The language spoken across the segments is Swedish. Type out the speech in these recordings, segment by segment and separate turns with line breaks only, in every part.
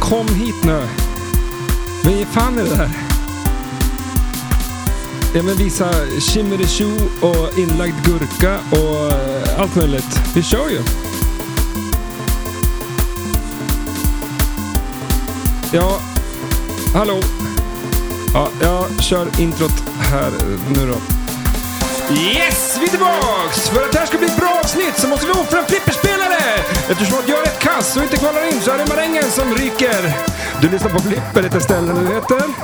Kom hit nu. Vi är fan i det här. Ja men visa tjimmeritjo och inlagd gurka och eh, allt möjligt. Vi kör ju. Ja, hallå. Ja, jag kör introt här nu då. Yes, vi är tillbaks! För att det här ska bli ett bra avsnitt så måste vi offra en flipperspelare! Eftersom att gör ett kast och inte kvalar in så är det marängen som ryker. Du lyssnar på Flipper, heter stället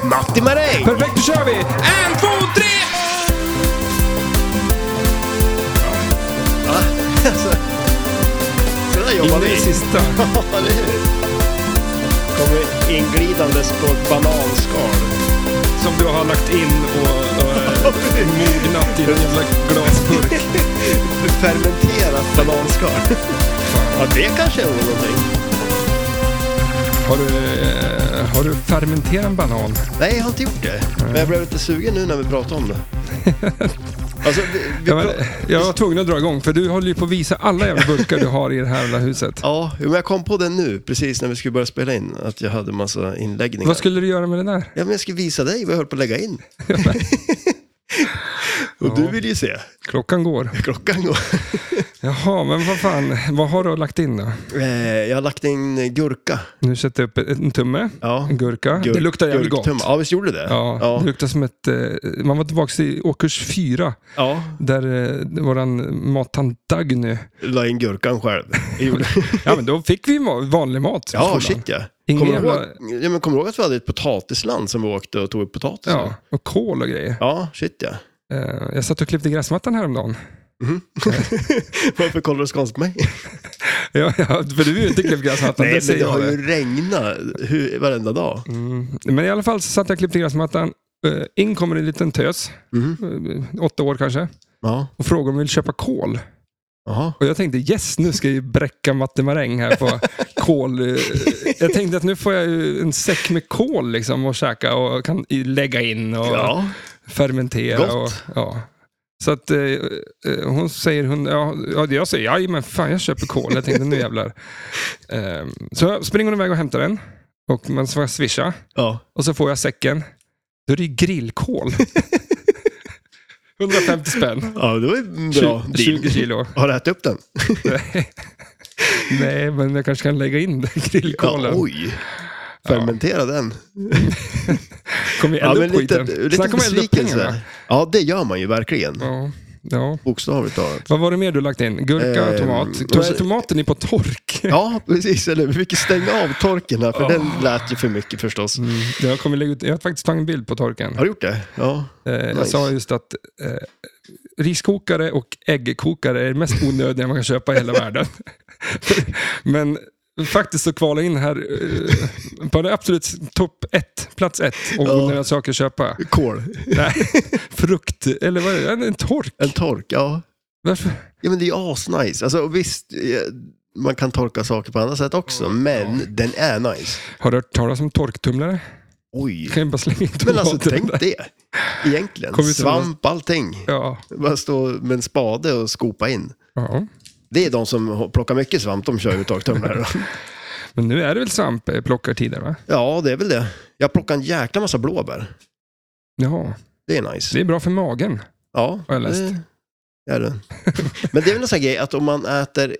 Matti Maräng!
Perfekt, då kör vi! En, två, tre!
Så där jobbar
In i
vi.
det sista.
Ja, eller hur? Kommer inglidandes på ett bananskal.
Som du har lagt in och, och eh, mognat i en jävla glasburk.
Fermenterat bananskal. Ja, det kanske är någonting.
Har du, eh, har du fermenterat en banan?
Nej, jag har inte gjort det. Men jag blev lite sugen nu när vi pratade om det. Alltså, vi, vi
Jag, var-
pra-
jag var tvungen att dra igång för du håller ju på att visa alla jävla burkar du har i det här jävla huset.
Ja, jo, men jag kom på det nu, precis när vi skulle börja spela in, att jag hade massa inläggningar.
Vad skulle du göra med den där?
Ja, men jag skulle visa dig vad jag höll på att lägga in. Och du vill ju se.
Klockan går.
Klockan går.
Jaha, men vad fan, vad har du lagt in då?
Eh, Jag har lagt in gurka.
Nu sätter jag upp en tumme,
Ja.
en gurka. det luktar jävligt gott.
gurktumma. Ja, visst gjorde det?
Ja,
Ja.
Det luktar som ett... eh, Man var tillbaka i årskurs fyra,
ja.
där eh, våran mattant Dagny...
La in gurkan själv. Jag gjorde-
Ja, men då fick vi ma- vanlig mat. i
ja,
skolan.
shit ja.
Ingen
Kommer du
jävla-
ihåg, ja, men kommer du ihåg att vi hade ett potatisland som vi åkte och tog upp potatis?
Ja, och kol och grejer.
ja shit ja.
Eh, Jag satt och klippte gräsmattan häromdagen.
Varför kollar du skånskt på mig?
Ja, ja, för du är ju inte klippt gräsmattan,
Nej,
det
men
säger
det har
jag.
ju regnat hur, varenda dag.
Mm. Men i alla fall så satt jag och klippte gräsmattan. Eh, In kommer en liten tös,
Mhm.
eh, åtta år kanske,
Ja.
och frågar om vi vill köpa kol.
Jaha.
Och jag tänkte yes, nu ska jag ju bräcka Matte Maräng här på kol. eh, Jag tänkte att nu får jag ju en säck med kol liksom och käka och kan i- lägga in och
Ja.
fermentera.
Gott.
Och, ja. Så att eh, eh, hon säger, hon, ja, ja, jag säger ja, men fan jag köper kol. Jag tänkte nu jävlar. Ehm, så springer hon iväg och hämtar den. Och man ska swisha.
ja.
Och så får jag säcken. Då är det ju grillkol. 150 spänn.
Ja, det var ju en bra
20,
deal.
20 kilo.
Har du ätit upp den?
Nej, men jag kanske kan lägga in den grillkolen.
Ja, oj. Fermentera den.
Kommer jag
Ja,
elda
men
upp skiten?
lite,
Sen
lite
kommer jag elda upp pengarna.
besvikelse. Ja, det gör man ju verkligen.
Ja, ja.
Bokstavligt talat.
Vad var det mer du lagt in? Gurka,
Eh,
tomat.
vad-
Kanske tomaten är på tork.
Ja, precis. Eller hur? vi fick stänga av torken här, för den lät ju för mycket förstås.
Mm, jag, kommer lägga ut, jag har faktiskt tagit en bild på torken.
Har du gjort det? Ja.
Eh, jag
nice.
sa just att eh, riskokare och äggkokare är det mest onödiga man kan köpa i hela världen. Men faktiskt så kvalar jag in här eh, på det absolut topp ett, plats ett, om
Ja.
onödiga saker att köpa.
Kål.
Nej, frukt, eller vad är det? En tork.
En tork, ja.
Varför?
Ja, men det är ju asnice. Alltså, och visst, eh, man kan torka saker på andra sätt också, men den är nice.
Har du hört talas om torktumlare?
Oj.
Kan jag bara slänga in
Men alltså,
tomaten
tänk
där?
det. Egentligen.
Kom ut ur
Svamp, allting.
Ja,
Bara stå med en spade och skopa in.
ja,
Det är de som plockar mycket svamp, de kör ju torktumlare.
men nu är det väl svampplockartider va?
ja, det är väl det. Jag plockar en jäkla massa blåbär.
Ja,
Det är nice.
det är bra för magen.
Ja,
Har jag läst.
det är det. Men det är väl en sån här grej att om man äter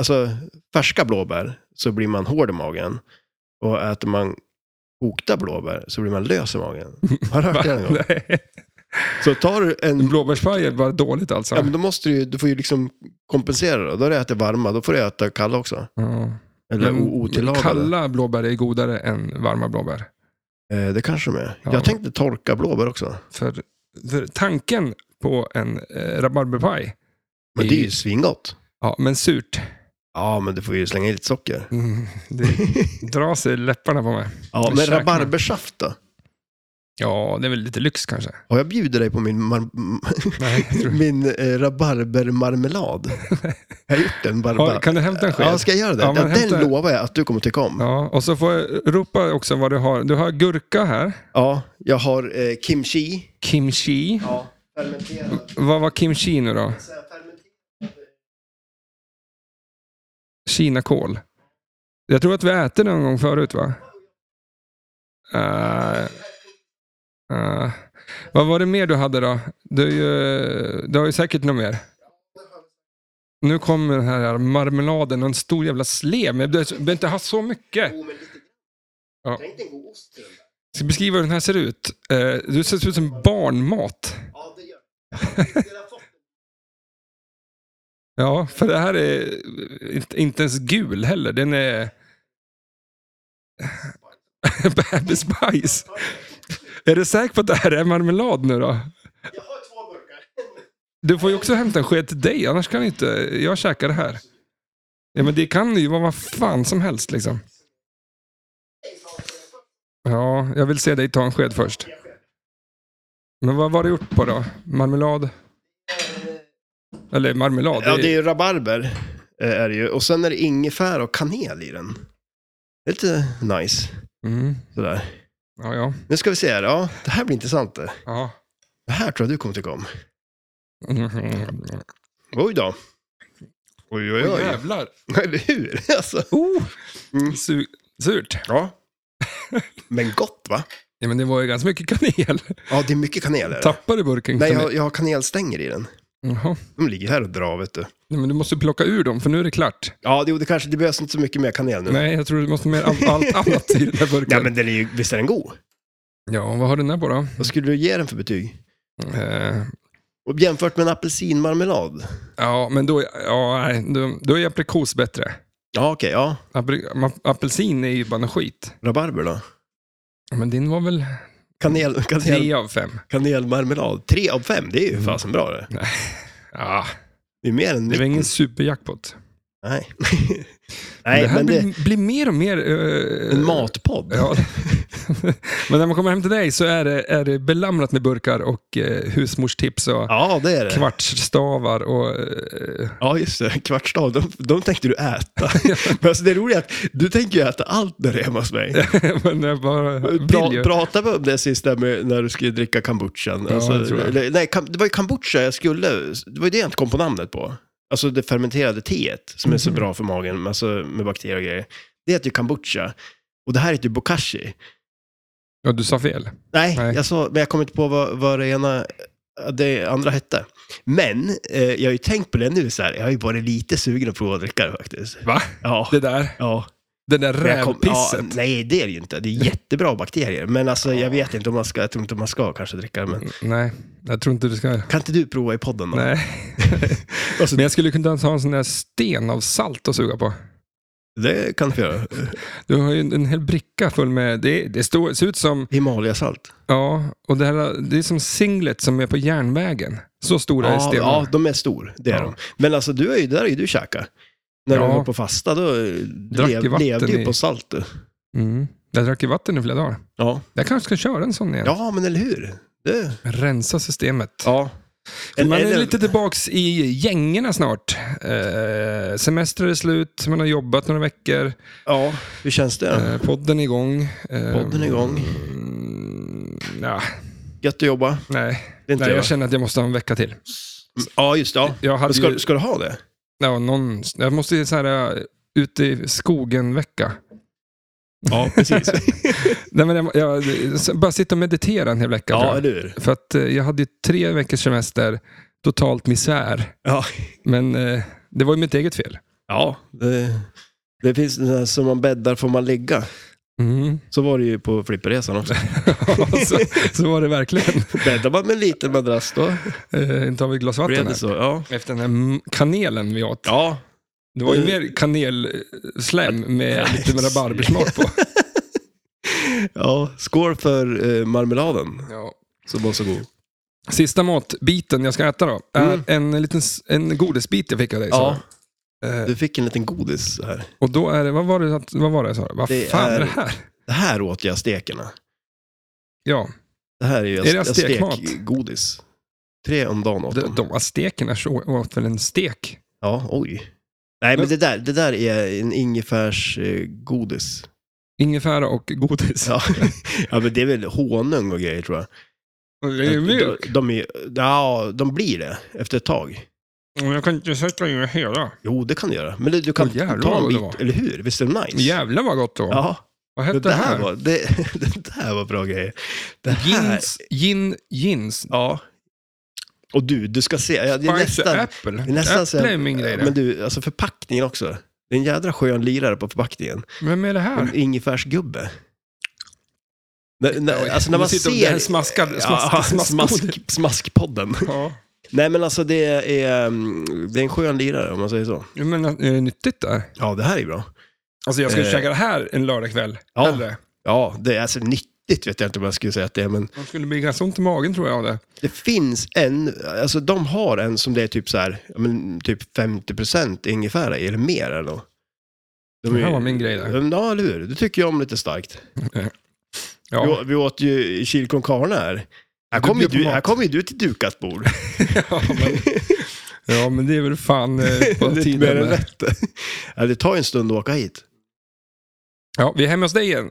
alltså, färska blåbär så blir man hård i magen. Och äter man kokta blåbär så blir man lös i magen. Har du hört det någon gång?
Nej.
Så tar du en...
Blåbärsfaj är bara dåligt alltså.
Ja, men då måste du, ju- du får ju liksom kompensera då. Då har du ätit varma, då får du äta kalla också.
Ja.
Eller
Men
o- otillagade.
Kalla blåbär är godare än varma blåbär.
Eh, det kanske de är.
Ja.
Jag tänkte torka blåbär också.
För, för tanken på en eh, rabarberpaj,
Men det är ju
I-
svingott.
ja, men surt,
Ja, men du får ju slänga i lite socker.
mm, det drar sig läpparna på mig.
Ja, men
Käkna.
rabarbersaft då?
Ja, det är väl lite lyx kanske.
Har jag bjuder dig på min mar-
Nej, jag tror-
Min eh, rabarbermarmelad. Jag har gjort den
Ja,
bara.
kan du hämta en sked?
Ja, ska jag göra det?
Ja,
Ja,
men
den
hämta-
lovar jag att du kommer tycka om. Ja,
Ja, och så får jag ropa också vad du har. Du har gurka här,
jag har eh, kimchi.
kimchi.
Ja, fermenterad.
Vad var kimchi nu då? kinakål. Jag tror att vi äter någon gång förut va? Eh, eh, vad var det mer du hade då? Du, är ju- du har ju säkert något mer. Nu kommer den här marmeladen och en stor jävla slev. Men du behöver inte ha så mycket. Ja.
Tänk dig en god ost till.
Jag ska beskriva hur den här ser ut. Eh, Du ser ut som barnmat.
Ja, det gör
Ja, för det här är inte- inte ens gul heller. Den är... Bebisbajs. Är du säker på att det här är marmelad nu då?
Jag har två burkar.
Du får ju också hämta en sked till dig, annars kan du inte... Jag käkar det här. Ja, men det kan ju vara vad fan som helst liksom. Ja, jag vill se dig ta en sked först. Men vad var det gjort på då? Marmelad? Eller marmelad?
Eh. Ja, det är ju rabarber. eh, Är det ju. Och sen är det ingefära och kanel i den. Det är lite nice.
Mm.
Sådär.
Ja, ja.
Nu ska vi se här. Ja, det här blir intressant. det.
ja.
Det här tror jag du kommer tycka om.
Mhm.
Oj då. Oj, oj,
Oj,
oj.
jävlar.
Eller hur? Alltså.
Oh.
Mm.
Su- surt.
Ja. Men gott, va?
Ja, men det var ju ganska mycket kanel.
Ja, det är mycket kanel. Är det?
Tappar du burken
Nej,
kanel?
jag, jag har kanelstänger i den.
Jaha.
De ligger här och drar, vet du.
Nej, men du måste plocka ur dem, för nu är det klart.
Ja, det, det kanske det behövs inte så mycket mer kanel nu.
Nej, jag tror du måste mer allt, allt annat i den här burken.
Ja, men den är ju, visst är den god?
Ja, vad har den där på då?
Vad skulle du ge den för betyg?
Eh,
Och jämfört med en apelsinmarmelad?
ja, men då, ja, nej, då, då är aprikos bättre.
Ja, okej. ja.
Apri- ma- apelsin är ju bara något skit.
Rabarber då?
Men din var väl
Kanel, kanel,
Mm. tre av fem?
kanelmarmelad. Tre av fem, det är ju fasen bra det.
Ja,
Det är mer än
det var
mitt.
ingen superjackpot.
Nej. Nej,
det här
men det är
blir, blir mer och mer... eh,
en matpodd.
Ja. Men när man kommer hem till dig så är det, är det belamrat med burkar och eh, husmorstips och
Ja, det är det.
kvartsstavar och... Eh,
Ja, just det. Kvartsdag, de, de tänkte du äta. Men alltså, det roliga är att du tänker ju äta allt när du är hemma hos mig.
men jag bara vill
Pra,
ju.
pratade vi om det sist där med när du skulle dricka kombuchan?
Ja,
alltså,
det tror jag.
eller- nej, kam- det var ju kombucha jag skulle, det var ju det jag inte kom på namnet på. Alltså det fermenterade teet som är så
Mhm.
bra för magen men alltså, med bakterier och grejer. Det heter ju kombucha. Och det här heter ju bokashi.
Ja, du sa fel.
Nej,
Nej.
Jag sa, men jag kommer inte på vad, vad det, ena, det andra hette. Men eh, jag har ju tänkt på det nu, så här, jag har ju varit lite sugen att prova att dricka det faktiskt.
Va?
Ja.
Det där,
Ja,
det där
Men jag kom-
rävpisset.
ja, nej, det är det ju inte. Det är jättebra bakterier. Men alltså,
Ja.
jag vet inte om man ska, jag tror inte man ska kanske dricka. Men...
Nej, jag tror inte du ska...
Kan inte du prova i podden då?
Nej.
Alltså-
Men jag skulle kunna ta en sån där sten av salt att suga på.
Det kan du få göra.
Du har ju en, en hel bricka full med... Det, det står, ser ut som...
Himalayasalt.
Ja, och det, här, det är som singlet som är på järnvägen. Så stora är
Ja,
stenarna.
ja, de är stor. Det är
Ja.
de. Men alltså, du är ju, där är ju du käka. När
Ja.
du var på fasta, då eh,
Drack ju
lev,
vatten
levde ju
i-
på salt. du.
Mm. Jag drack ju vatten i flera dagar.
Ja.
Jag kanske ska köra en sån igen.
ja, men eller hur? Det...
Rensa systemet.
Ja.
För man är
Eller-
lite tillbaks i gängerna snart. Eh, semester är slut, man har jobbat några veckor.
Ja, hur känns det? då?
Eh, podden är igång. Eh,
Podden är igång.
Mm, ja,
Gött att jobba.
nej,
Det är inte
nej, jag
jag.
känner att jag måste ha en vecka till.
Ja, just det. Ja.
Jag hade
Ska,
ju,
ska du ha det?
ja, någon, jag måste ju så här, eh, ute i skogen-vecka.
Ja, precis.
Nej, men jag, jag, bara sitta och meditera en hel vecka. tror
ja,
jag.
eller hur?
För att eh, jag hade ju tre veckors semester, totalt misär.
Ja.
Men eh, det var ju mitt eget fel.
Ja, det, det finns den här som man bäddar får man ligga.
Mm.
Så var det ju på flipperresan också.
så, så var det verkligen.
Bäddar man med en liten madrass då
Eh, inte har vi ett glas
blev
vatten
det
här.
så. Ja.
Efter den här m- kanelen vi åt.
ja. Mm.
Det var ju mer kanelslem med lite med rabarbersmak på.
Ja, skål för eh, marmeladen
Ja.
som var så god.
Sista matbiten jag ska äta då är
Mm.
en liten s- en godisbit jag fick av dig. sa
Ja.
du. Eh,
Du fick en liten godis här.
och då är det, vad var det, att- vad var det jag sa? Vad
Det
fan är...
är-
det här?
Det här åt jag stekerna.
Ja,
Det här är ju
Är det stekmat?
stekgodis. Tre om dagen åt
de,
dem.
de aztekerna så- åt väl en stek?
Ja, oj. Nej, men det där, det där är en ingefärsgodis.
Ingefära och godis.
Ja. ja, men det är väl honung och grejer tror jag.
Och Det är ju
Att
mjölk.
De, de, är, ja, de blir det efter ett tag.
Mm, Jag kan inte sätta in hela.
Jo, det kan du göra. Men du, du kan
Åh, jävlar
ta
vad
en
det
bit,
var.
eller hur? Visst är det nice?
Jävlar vad gott det var.
Ja,
Vad
det
hette det
där,
här?
var, det, det där var bra grejer. Det här,
Jeans, gin, jeans.
Ja. Och du, du ska se. Ja, det är
Spicy
nästan,
apple.
det är nästan så-
Apple är min grej.
Men
Men,
du, alltså förpackningen också. Det är en jädra skön lirare på förpackningen.
Vem är det här?
En ingefärsgubbe. När, när, alltså när
Nu
man
sitter de där
ser...
smaskad, smask,
ja,
smask,
smask, smaskpodden.
Ja.
Nej men alltså det är, mm, det är en skön lirare om man säger så.
Jag menar, är det eh, nyttigt det här?
Ja, det här är bra.
Alltså jag skulle
Eh.
käka det här en lördagkväll.
Ja.
Hellre.
Ja, det är alltså nyttigt vet jag inte om jag skulle säga att det är, men
Man skulle bli ganska ont i magen tror jag av det.
det finns en, alltså de har en som det är typ så här, ja, men typ 50% ingefära i, eller mer eller något. De
Det
är-
här var min grej där.
Ja, eller hur? Det tycker jag om lite starkt. Vi,
Ja.
å- vi åt ju chili con carne här. Här
Du
kommer ju
bjöd på
du,
mat.
här kom ju du till dukat bord.
Ja, men, ja, men det är väl fan eh, på
Lite mer än
tiden.
rätt. Ja, det tar ju en stund att åka hit.
Ja, vi är hemma hos dig igen.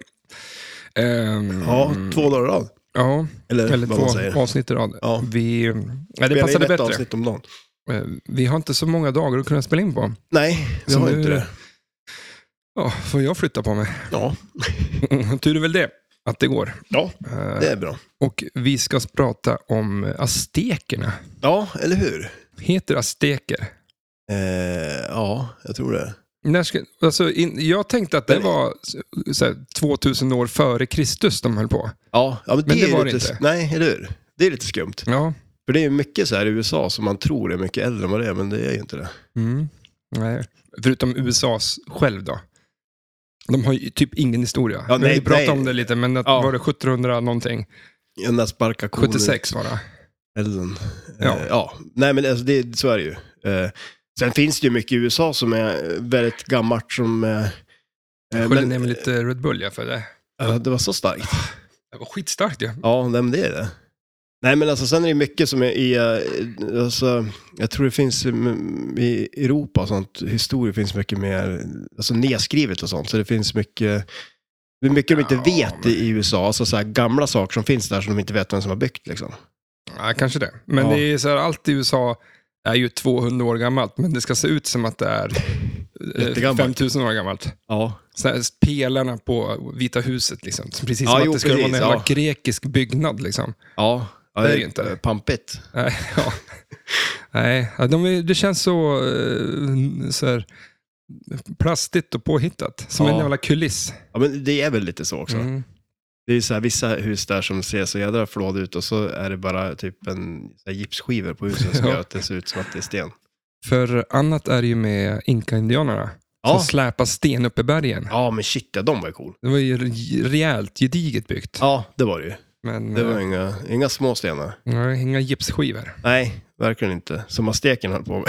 Ehm,
Ja, två dagar i rad.
Ja,
Eller,
eller
vad man säger.
två avsnitt i rad.
Ja.
Vi, eh, ja, det
Spelar in
passade
ett
bättre.
avsnitt om dagen.
Eh, Vi har inte så många dagar att kunna spela in på.
Nej, vi
Så
har
nu-
inte det.
Ja, får jag flytta på mig?
Ja,
Tur är väl det, att det går.
ja,
Eh,
det är bra.
Och vi ska prata om aztekerna.
Ja, eller hur?
Heter azteker?
Eh, ja, jag tror det.
När ska, alltså in, jag tänkte att det
Men-
var så- så här, 2000 år före Kristus de höll på.
Ja, ja men,
Men
det,
det
är
var det
lite,
inte.
Nej, eller hur? Det är lite skumt.
Ja.
För det är ju mycket så här i USA som man tror är mycket äldre än vad det är, men det är ju inte det.
Mm. Nej. Förutom USAs själv då. De har ju typ ingen historia.
Ja,
Vi har
nej,
ju pratat
nej.
om det lite, men att,
Ja.
var det 1700 någonting?
Den där sparka kon i
76 var
Eh,
det.
elden.
Ja.
Eh, ja. Nej, men alltså, det, så är det ju. Eh, sen finns det ju mycket i USA som är eh, väldigt gammalt som... Eh, eh,
Jag sköljde
men-
ner med lite Red Bull ja, för det.
Ja, det var så starkt.
Det var skitstarkt ju.
Ja, nej, men det är det. Nej, men alltså sen är det mycket som är i, eh, alltså, jag tror det finns mm, i Europa och sånt, historia finns mycket mer, alltså nedskrivet och sånt, så det finns mycket, det är mycket de
Ja,
inte vet
men-
i USA, alltså så här gamla saker som finns där som de inte vet vem som har byggt liksom.
Ja, kanske det. Men
Ja.
det är så här, allt i USA är ju 200 år gammalt, men det ska se ut som att det är eh,
Jättegammalt.
5000 år gammalt.
Ja.
Så här, pelarna på Vita huset, liksom. Så precis
Ja,
som
jo,
att det skulle vara en
precis,
jävla
ja.
grekisk byggnad. Liksom.
Ja. Eh,
Det är ju inte det.
Pampigt.
Nej, ja. Nej, ja, de är, det känns så, eh, så här, plastigt och påhittat. Som
Ja.
en jävla kuliss.
Ja, men det är väl lite så också.
Mm.
Det är ju så här vissa hus där som ser så jädra flåd ut och så är det bara typ en så här, gipsskivor på husen som
Ja.
gör att det ser ut som att det är sten.
För annat är det ju med inka-indianerna. Som
Ja.
släpar sten upp i bergen.
Ja, men shit, ja, de var ju cool.
Det var ju re- rejält gediget byggt.
Ja, det var det ju.
Men
Det
det
var inga, inga små stenar.
inga gipsskivor.
Nej, verkligen inte. Som azteken höll på med.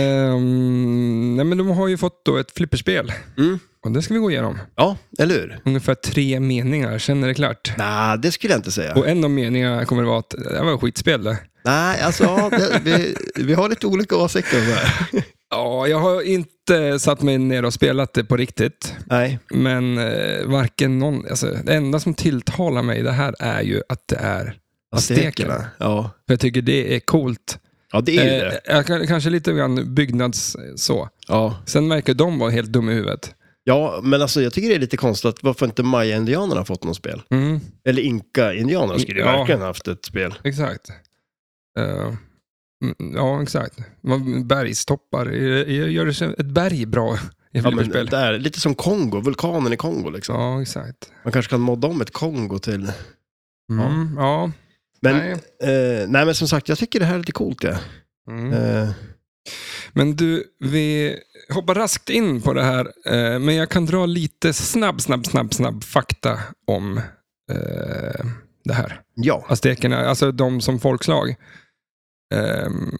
Ehm, nej, men de har ju fått då ett flipperspel.
Mm.
Och det ska vi gå igenom.
Ja, eller hur?
Ungefär tre meningar, sen är det klart.
Nej, det skulle jag inte säga.
Och en av meningarna kommer att vara att det här var ett skitspel det.
Nej, alltså ja, det, vi, vi har lite olika åsikter om det här.
Ja, jag har inte satt mig ner och spelat det på riktigt.
Nej,
Men eh, varken någon, alltså, det enda som tilltalar mig i det här är ju att det är aztekerna.
aztekerna. Eh, Ja.
För jag tycker det är coolt. Eh,
ja, det är ju det.
jag, kan- kanske lite grann byggnads så.
Ja.
Sen verkar de vara helt dumma i huvudet.
ja, men alltså jag tycker det är lite konstigt att varför inte maya-indianerna fått något spel?
Mm,
Eller inka-indianerna skulle ju
Ja.
verkligen haft ett spel.
exakt. Eh, mm, ja, exakt. Man- Bergstoppar. Eh, Gör det sig- ett berg bra i
Ja, men
flipperspel? Ja,
där, lite som Kongo, vulkanen i Kongo liksom.
exakt.
Man kanske kan modda om ett Kongo till...
Mm, ja.
Men,
Nej.
nej. Eh, nej, men som sagt, jag tycker det här är lite coolt. Ja.
Mm.
Eh,
Men du, vi hoppar raskt in på det här. eh, Men jag kan dra lite snabb, snabb, snabb, snabb fakta om eh, det här.
ja.
Aztekerna, alltså de som folkslag. Ehm,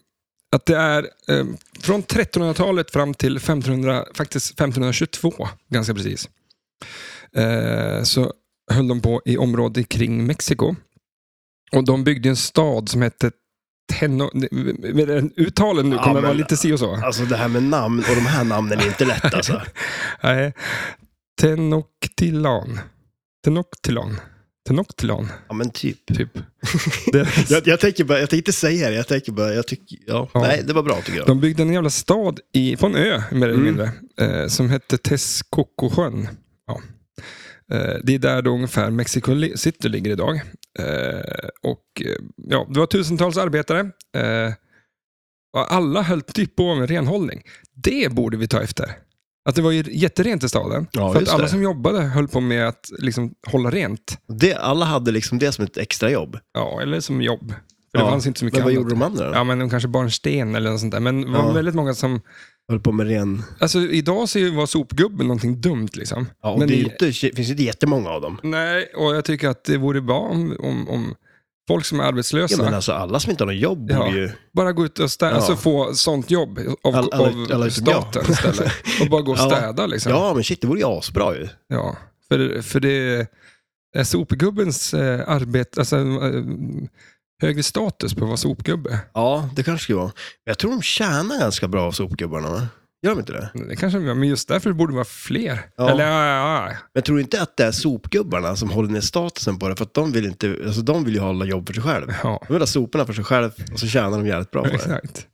Att det är eh, från 1300-talet fram till 1500, faktiskt 1522, ganska precis. eh, Så höll de på i området kring Mexiko. Och de byggde en stad som hette Teno... med den Uttalen nu
Ja,
kommer att vara
men-
lite si och så.
Alltså det här med namn och de här namnen är inte lätt alltså.
Nej. Tenochtitlan. Tenochtitlan. Tenoctilan,
Ja, men typ.
typ. Det,
Jag, jag tänker bara, jag tänkte inte säga det, jag tänker bara, jag tycker, ja.
Ja.
Nej, det var bra tycker jag.
de byggde en jävla stad i, på en ö, mer eller
Mm.
mindre, eh, som hette Texcocosjön. Ja. Eh, det är där då ungefär Mexico li- City ligger idag. Eh, och eh, ja, det var tusentals arbetare. Eh, och alla höll typ på med renhållning. Det borde vi ta efter. Att det var ju jätterent i staden.
Ja,
för att
just
alla
det.
som jobbade höll på med att liksom, hålla rent.
Det, alla hade liksom det som ett extrajobb.
Ja, eller som jobb. För det
Ja,
fanns inte så mycket
Men vad
annat.
gjorde de andra då?
Ja, men de kanske bar en sten eller något sånt där. Men det var
Ja.
väldigt många som...
Höll på med ren...
Alltså idag ser ju var sopgubben någonting dumt liksom.
Ja, och
men
det, är ju
i-
inte, det finns ju inte jättemånga av dem.
Nej, och jag tycker att det vore bra om, om, om folk som är arbetslösa
Ja, men alltså alla som inte har något jobb
Ja.
borde ju...
bara gå ut och städa,
Ja.
alltså få sånt jobb av,
Alla- alla-
av
alla utom jag.
staten istället. Och bara gå och
Ja.
städa liksom.
Ja, men shit, det vore ju asbra ju.
Ja, för, för det är sopgubbens eh, arbete, alltså eh, högre status på att vara sopgubbe.
Ja, det kanske skulle vara. Men jag tror de tjänar ganska bra av sopgubbarna, va? Gör de inte det?
Det kanske, men just därför borde det vara fler.
Ja.
Eller ja, ja, ja.
Men tror du inte att det är sopgubbarna som håller ner statusen på det? För att de vill, inte, alltså, de vill ju hålla jobb för sig själv.
ja.
De vill ha soporna för sig själv och så tjänar de jävligt bra på det.
Exakt.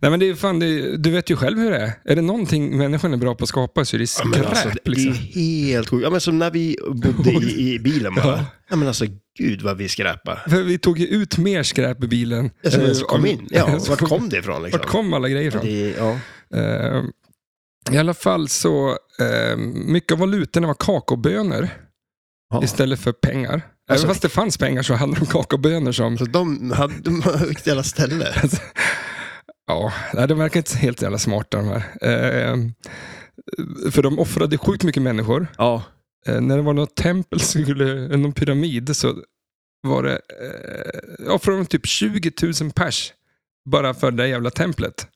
Nej, men det är fan, det är, du vet ju själv hur det är. Är det någonting människan är bra på att skapa så är det
Ja,
skräp.
men alltså, det är
liksom.
helt sjukt. Ja, men som när vi bodde i, i bilen bara.
Ja.
Ja. men alltså gud vad vi skräpar.
För vi tog ju ut mer skräp i bilen.
Alltså,
Eh,
ens kom
om-
in. Ja,
ens
vart kom det ifrån liksom?
vart kom alla grejer ifrån?
det, ja.
Eh, I alla fall så, eh, mycket av valutorna var kakobönor
Ja.
istället för pengar. Även
Alltså-
fast det fanns pengar så handlade det om kakobönor som...
Så de hade de hade ett jävla ställe.
Ja, nej, de verkar inte helt jävla smarta de här. Eh, för de offrade sjukt mycket människor.
Ja.
Eh, när det var något tempel, så skulle, eh, någon pyramid, så var det, eh, ja, från typ 20 000 pers bara för det där jävla templet.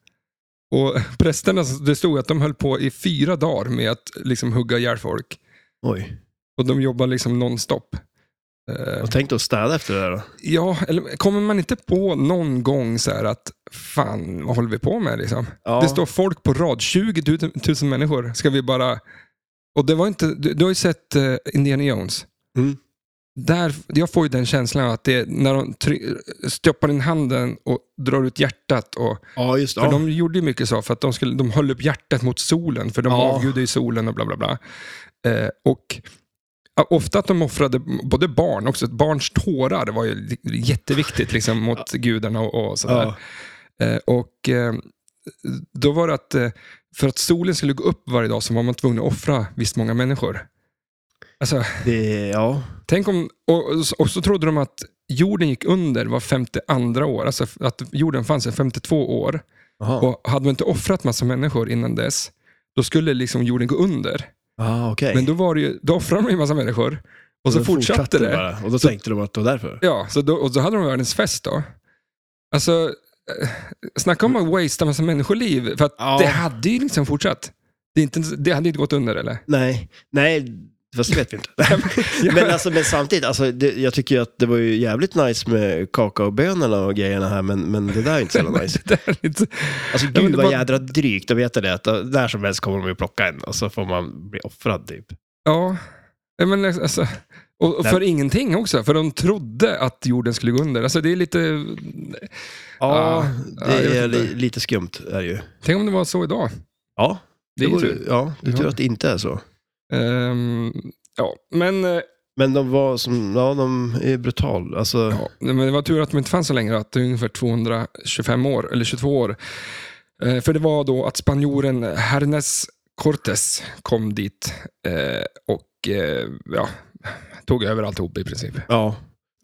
Och prästerna, det stod att de höll på i fyra dagar med att liksom hugga ihjäl folk.
Oj.
Och de jobbar liksom nonstop. Eh,
Och tänk dig att städa efter det där då.
ja, eller kommer man inte på någon gång så här att fan, vad håller vi på med liksom?
Ja.
Det står folk på rad, 20 000 människor. Ska vi bara... Och det var inte... Du, du har ju sett eh, Indiana Jones.
Mm.
Där, jag får ju den känslan att det är när de try, stoppar in handen och drar ut hjärtat. Och,
Ja, just det.
För
Ja.
de gjorde ju mycket så, för att de, skulle, de höll upp hjärtat mot solen, för de
Ja.
avgudar ju solen och bla bla bla. Eh, och ja, Ofta att de offrade både barn också. Barns tårar var ju jätteviktigt liksom, mot gudarna och, och sådär.
Ja.
Eh, och eh, då var det att eh, för att solen skulle gå upp varje dag så var man tvungen att offra visst många människor. Alltså,
Det, ja.
tänk om, och, och så trodde de att jorden gick under var 52 år, alltså f- att jorden fanns i 52 år.
Jaha.
Och hade man inte offrat massa människor innan dess, då skulle liksom jorden gå under.
Ja, Ah, okej.
Men då, var det ju, då offrade de ju massa människor och så
Då
fortsatte, det.
bara. Och då tänkte de att det var därför.
Ja, så då, och då hade de världens fest då. Alltså, eh, snacka om att wastea massa människoliv. För att
Ja.
det hade ju liksom fortsatt. Det, är inte, det hade inte gått under eller?
Nej, nej, fast det vet vi inte. men, alltså, men samtidigt, alltså, det, jag tycker ju att det var ju jävligt nice med kakaobönorna och grejerna här, men, men det där är inte så jävla nice.
Det är lite,
Alltså
men
gud
det
vad
var-
jädra drygt att veta det, att eh, när som helst kommer de ju plocka en och så får man bli offrad typ.
ja, Nej, men alltså, och, och
Nej.
för ingenting också. För de trodde att jorden skulle gå under. Alltså, det är lite, Ja,
Ja,
ja, jag
det
vet
är li,
inte.
lite skumt är det ju.
tänk om det var så idag.
Ja,
Det är ju
vore-
tur.
ja, det är
Ja.
tur att det inte är så.
Ehm, ja, men, eh,
Men de var som, ja de är brutal. Alltså,
ja, nej, men det var tur att de inte fanns så länge. då, Att det är ungefär 225 år, eller 22 år. Eh, För det var då att spanjoren Hernes Cortes kom dit eh, och eh, ja, tog över alltihop i princip.
ja.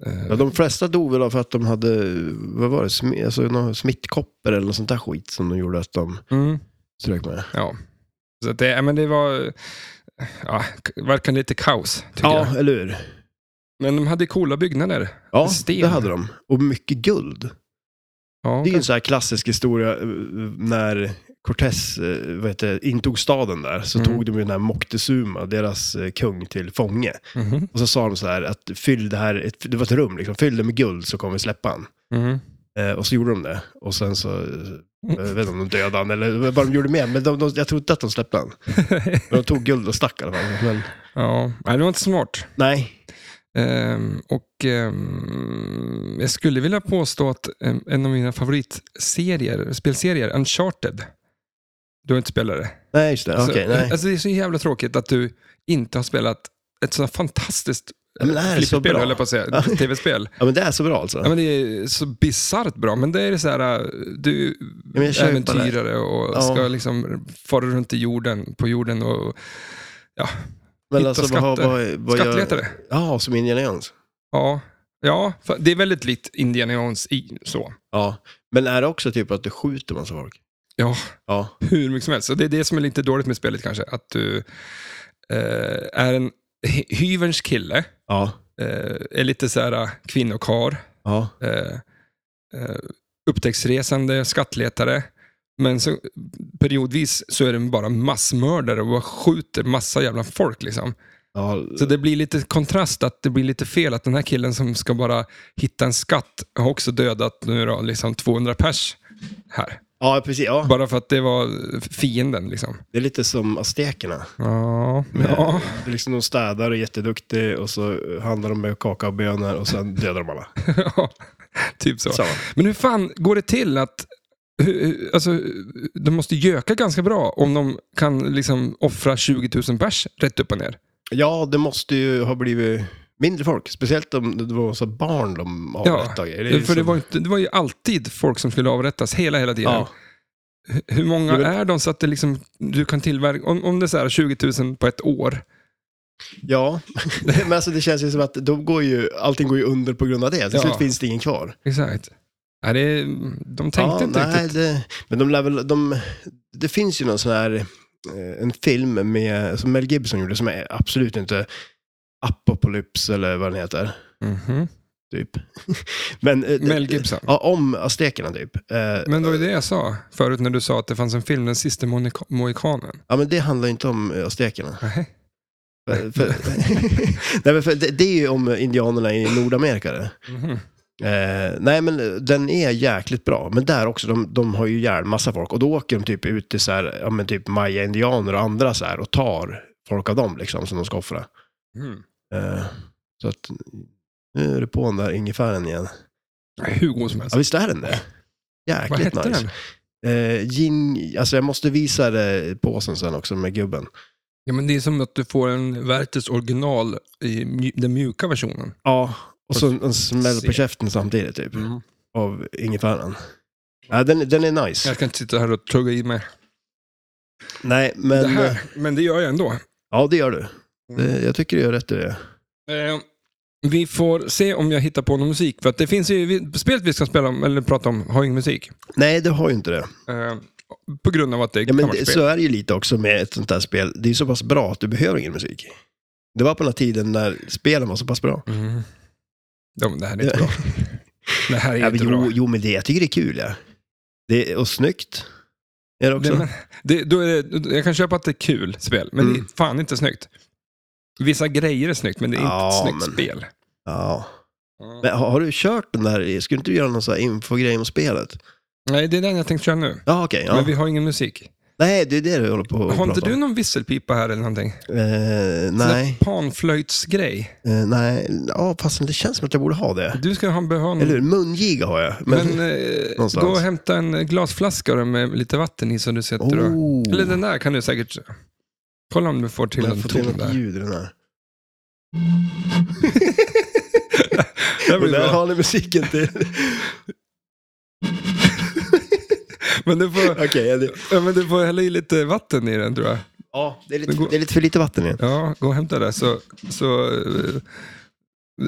Eh,
Ja, de flesta dog väl av för att de hade, vad var det, sm- alltså, någon smittkoppor eller något sånt där skit som de gjorde att de
Mm,
strök med.
ja. Så att det, ja, men det var ja, k- verkar lite kaos, tycker
Ja,
jag.
eller hur?
Men de hade coola byggnader.
Ja,
Sten.
det hade de. Och mycket guld.
Ja,
Det är ju en sån här klassisk historia eh, när Cortés eh, vad heter, det, intog staden där så
Mm.
tog de ju den här Moctezuma, deras eh, kung, till fånge.
mhm,
Och så sa de så här att fyll det här, ett, det var ett rum liksom, fyll det med guld så kommer vi släppa han.
mhm.
Eh, och så gjorde de det. Och sen så, eh, jag vet inte om de dödade han eller vad de gjorde med men de, de, jag tror inte att de släppte han. Men de tog guld och stack i alla fall. Men,
ja. Nej, det var inte smart.
nej,
Ehm, och ehm, jag skulle vilja påstå att ehm, en av mina favoritserier, spelserier, Uncharted, du har inte spelat det?
Nej, just det. Okej,
alltså,
nej.
alltså, det är så jävla tråkigt att du inte har spelat ett sådant fantastiskt
Ja, men det här är så
flipperspel,
bra.
höll jag på att säga.
Ja.
Tv-spel.
Ja, men det är så bra alltså.
Ja, men det är så bisarrt bra, men det är det så här, äh, du
men jag
är
köper
äventyrare och
Ja.
ska liksom fara runt i jorden, på jorden och
Men
hitta
alltså,
skatter.
vad gör-
skattletare.
Ja, som Indiana Jones.
Ja, ja för det är väldigt likt Indiana Jones i så.
Ja. Men är det också typ att du skjuter massa folk?
Ja,
Ja.
hur mycket som helst. Så det är det som är lite dåligt med spelet kanske, att du eh, är en hy- hyverns kille,
Ja.
eh, är lite så här äh, kvinnokar,
Ja.
eh, eh, upptäcktsresande, skattletare. Men så, periodvis så är den bara massmördare och bara skjuter massa jävla folk. Liksom.
ja.
Så det blir lite kontrast, att det blir lite fel att den här killen som ska bara hitta en skatt har också dödat nu då, liksom 200 pers här.
Ja, precis. Ja.
Bara för att det var fienden. Liksom.
Det är lite som aztekerna.
Ja, ja.
Det är liksom de städar och är jätteduktig och så handlar de med kakaobönor och sen dödar de alla.
typ så.
Så.
Men hur fan går det till att... hur- hur- Alltså, de måste göka ganska bra om de kan liksom offra 20 000 pers rätt upp och ner.
Ja, det måste ju ha blivit mindre folk. Speciellt om det var så barn de avrättade. Det är ju
För det
som-
var, ju inte, det var ju alltid folk som skulle avrättas hela, hela tiden.
Ja.
Hur- Hur många
Jo, men-
är de så att det liksom, du kan tillverka... Om, om det är så här 20 000 på ett år.
ja. Men alltså det känns ju som att de går ju, allting går ju under på grund av det. Till
Ja.
slut finns det ingen kvar.
Exakt. Nej, det, är- de tänkte
ja,
inte
nej,
riktigt.
det, Men de lär väl, de, det finns ju någon sån här, eh, en film med, som Mel Gibson gjorde som är absolut inte Apocalypse eller vad den heter.
Mhm.
Typ. Men, eh,
Mel Gibson.
Ja, om aztekerna typ. Eh,
Men det var ju det jag sa förut när du sa att det fanns en film, Den sista monika- mohikanen. Mhm.
Ja, men det handlar ju inte om eh, aztekerna.
Nej.
För, för, nej, men för det, det är ju om indianerna i Nordamerika. Det.
Mhm.
Eh, nej, men eh, den är jäkligt bra. Men där också, de, de har ju ihjäl massa folk. Och då åker de typ ut till så här, ja, men typ maya-indianer och andra så här och tar folk av dem liksom som de ska offra.
Mm.
Eh, så att nu är det på den där ingefären igen.
Hur god som helst.
Ja, visst är den det?
Vad
Jäkligt
hette
nice.
den?
Eh, gin, alltså jag måste visa det påsen sen också med gubben.
Ja, men det är som att du får en Werthers original i mj- den mjuka versionen.
Ja, och så en smäll
Se. Mm.
på käften samtidigt typ. Av ingefäran. Ja, den, den är nice.
Jag kan inte sitta här och tugga i mig
Nej,
det
men... eh,
här, men det gör jag ändå.
Ja, det gör du.
Mm.
Det, jag tycker du gör rätt i det.
Eh, vi får se om jag hittar på någon musik. För att det finns ju, vi- spelet vi ska spela om, eller prata om har ingen musik.
Nej, det har ju inte det.
Eh, på grund av att det är
Ja, men det
kammarspel.
så är det ju lite också med ett sånt här spel. Det är ju så pass bra att du behöver ingen musik. Det var på den här tiden när spelen var så pass bra.
Mm. Ja, men det här är inte bra. Det här är
Ja, men
inte
jo,
bra.
jo, men det, jag tycker det är kul. Ja. Det, och snyggt. Är det också.
Det, men, det, då är det, jag kan köpa att det är kul spel, men det
Mm.
är fan inte snyggt. Vissa grejer är snyggt, men det är inte
Ja,
ett snyggt
men-
spel.
Ja.
Ja.
Men har, har du kört den där? Skulle inte du göra någon sån här infogrej om spelet?
Nej, det är den jag tänkte köra nu.
Ja, okej. ja.
Men vi har ingen musik.
Nej, det är det du håller på att
Har inte
prata
du
om.
någon visselpipa här eller någonting?
Eh, nej,
Sån där Panflöjtsgrej.
eh, nej. Ja, fast det känns som att jag borde ha det.
Du ska ha behöva
Eller
någon...
hur? Mungiga har jag. Men,
Mm. Men eh,
Någonstans.
gå och hämta en glasflaska då med lite vatten i som du sätter och...
oh,
Eller den där kan du säkert... Kolla om du får till
jag
en
får till
ton
något
där.
ljud i den här.
Det
Och
blir
där
bra.
har ni musiken till.
Men du får,
Okej, ja, det,
ja, men du får hälla i lite vatten i den tror jag.
ja, det, är
Det
lite,
går-
det är lite för lite vatten i den.
Ja, gå och hämta det. Så, så, eh,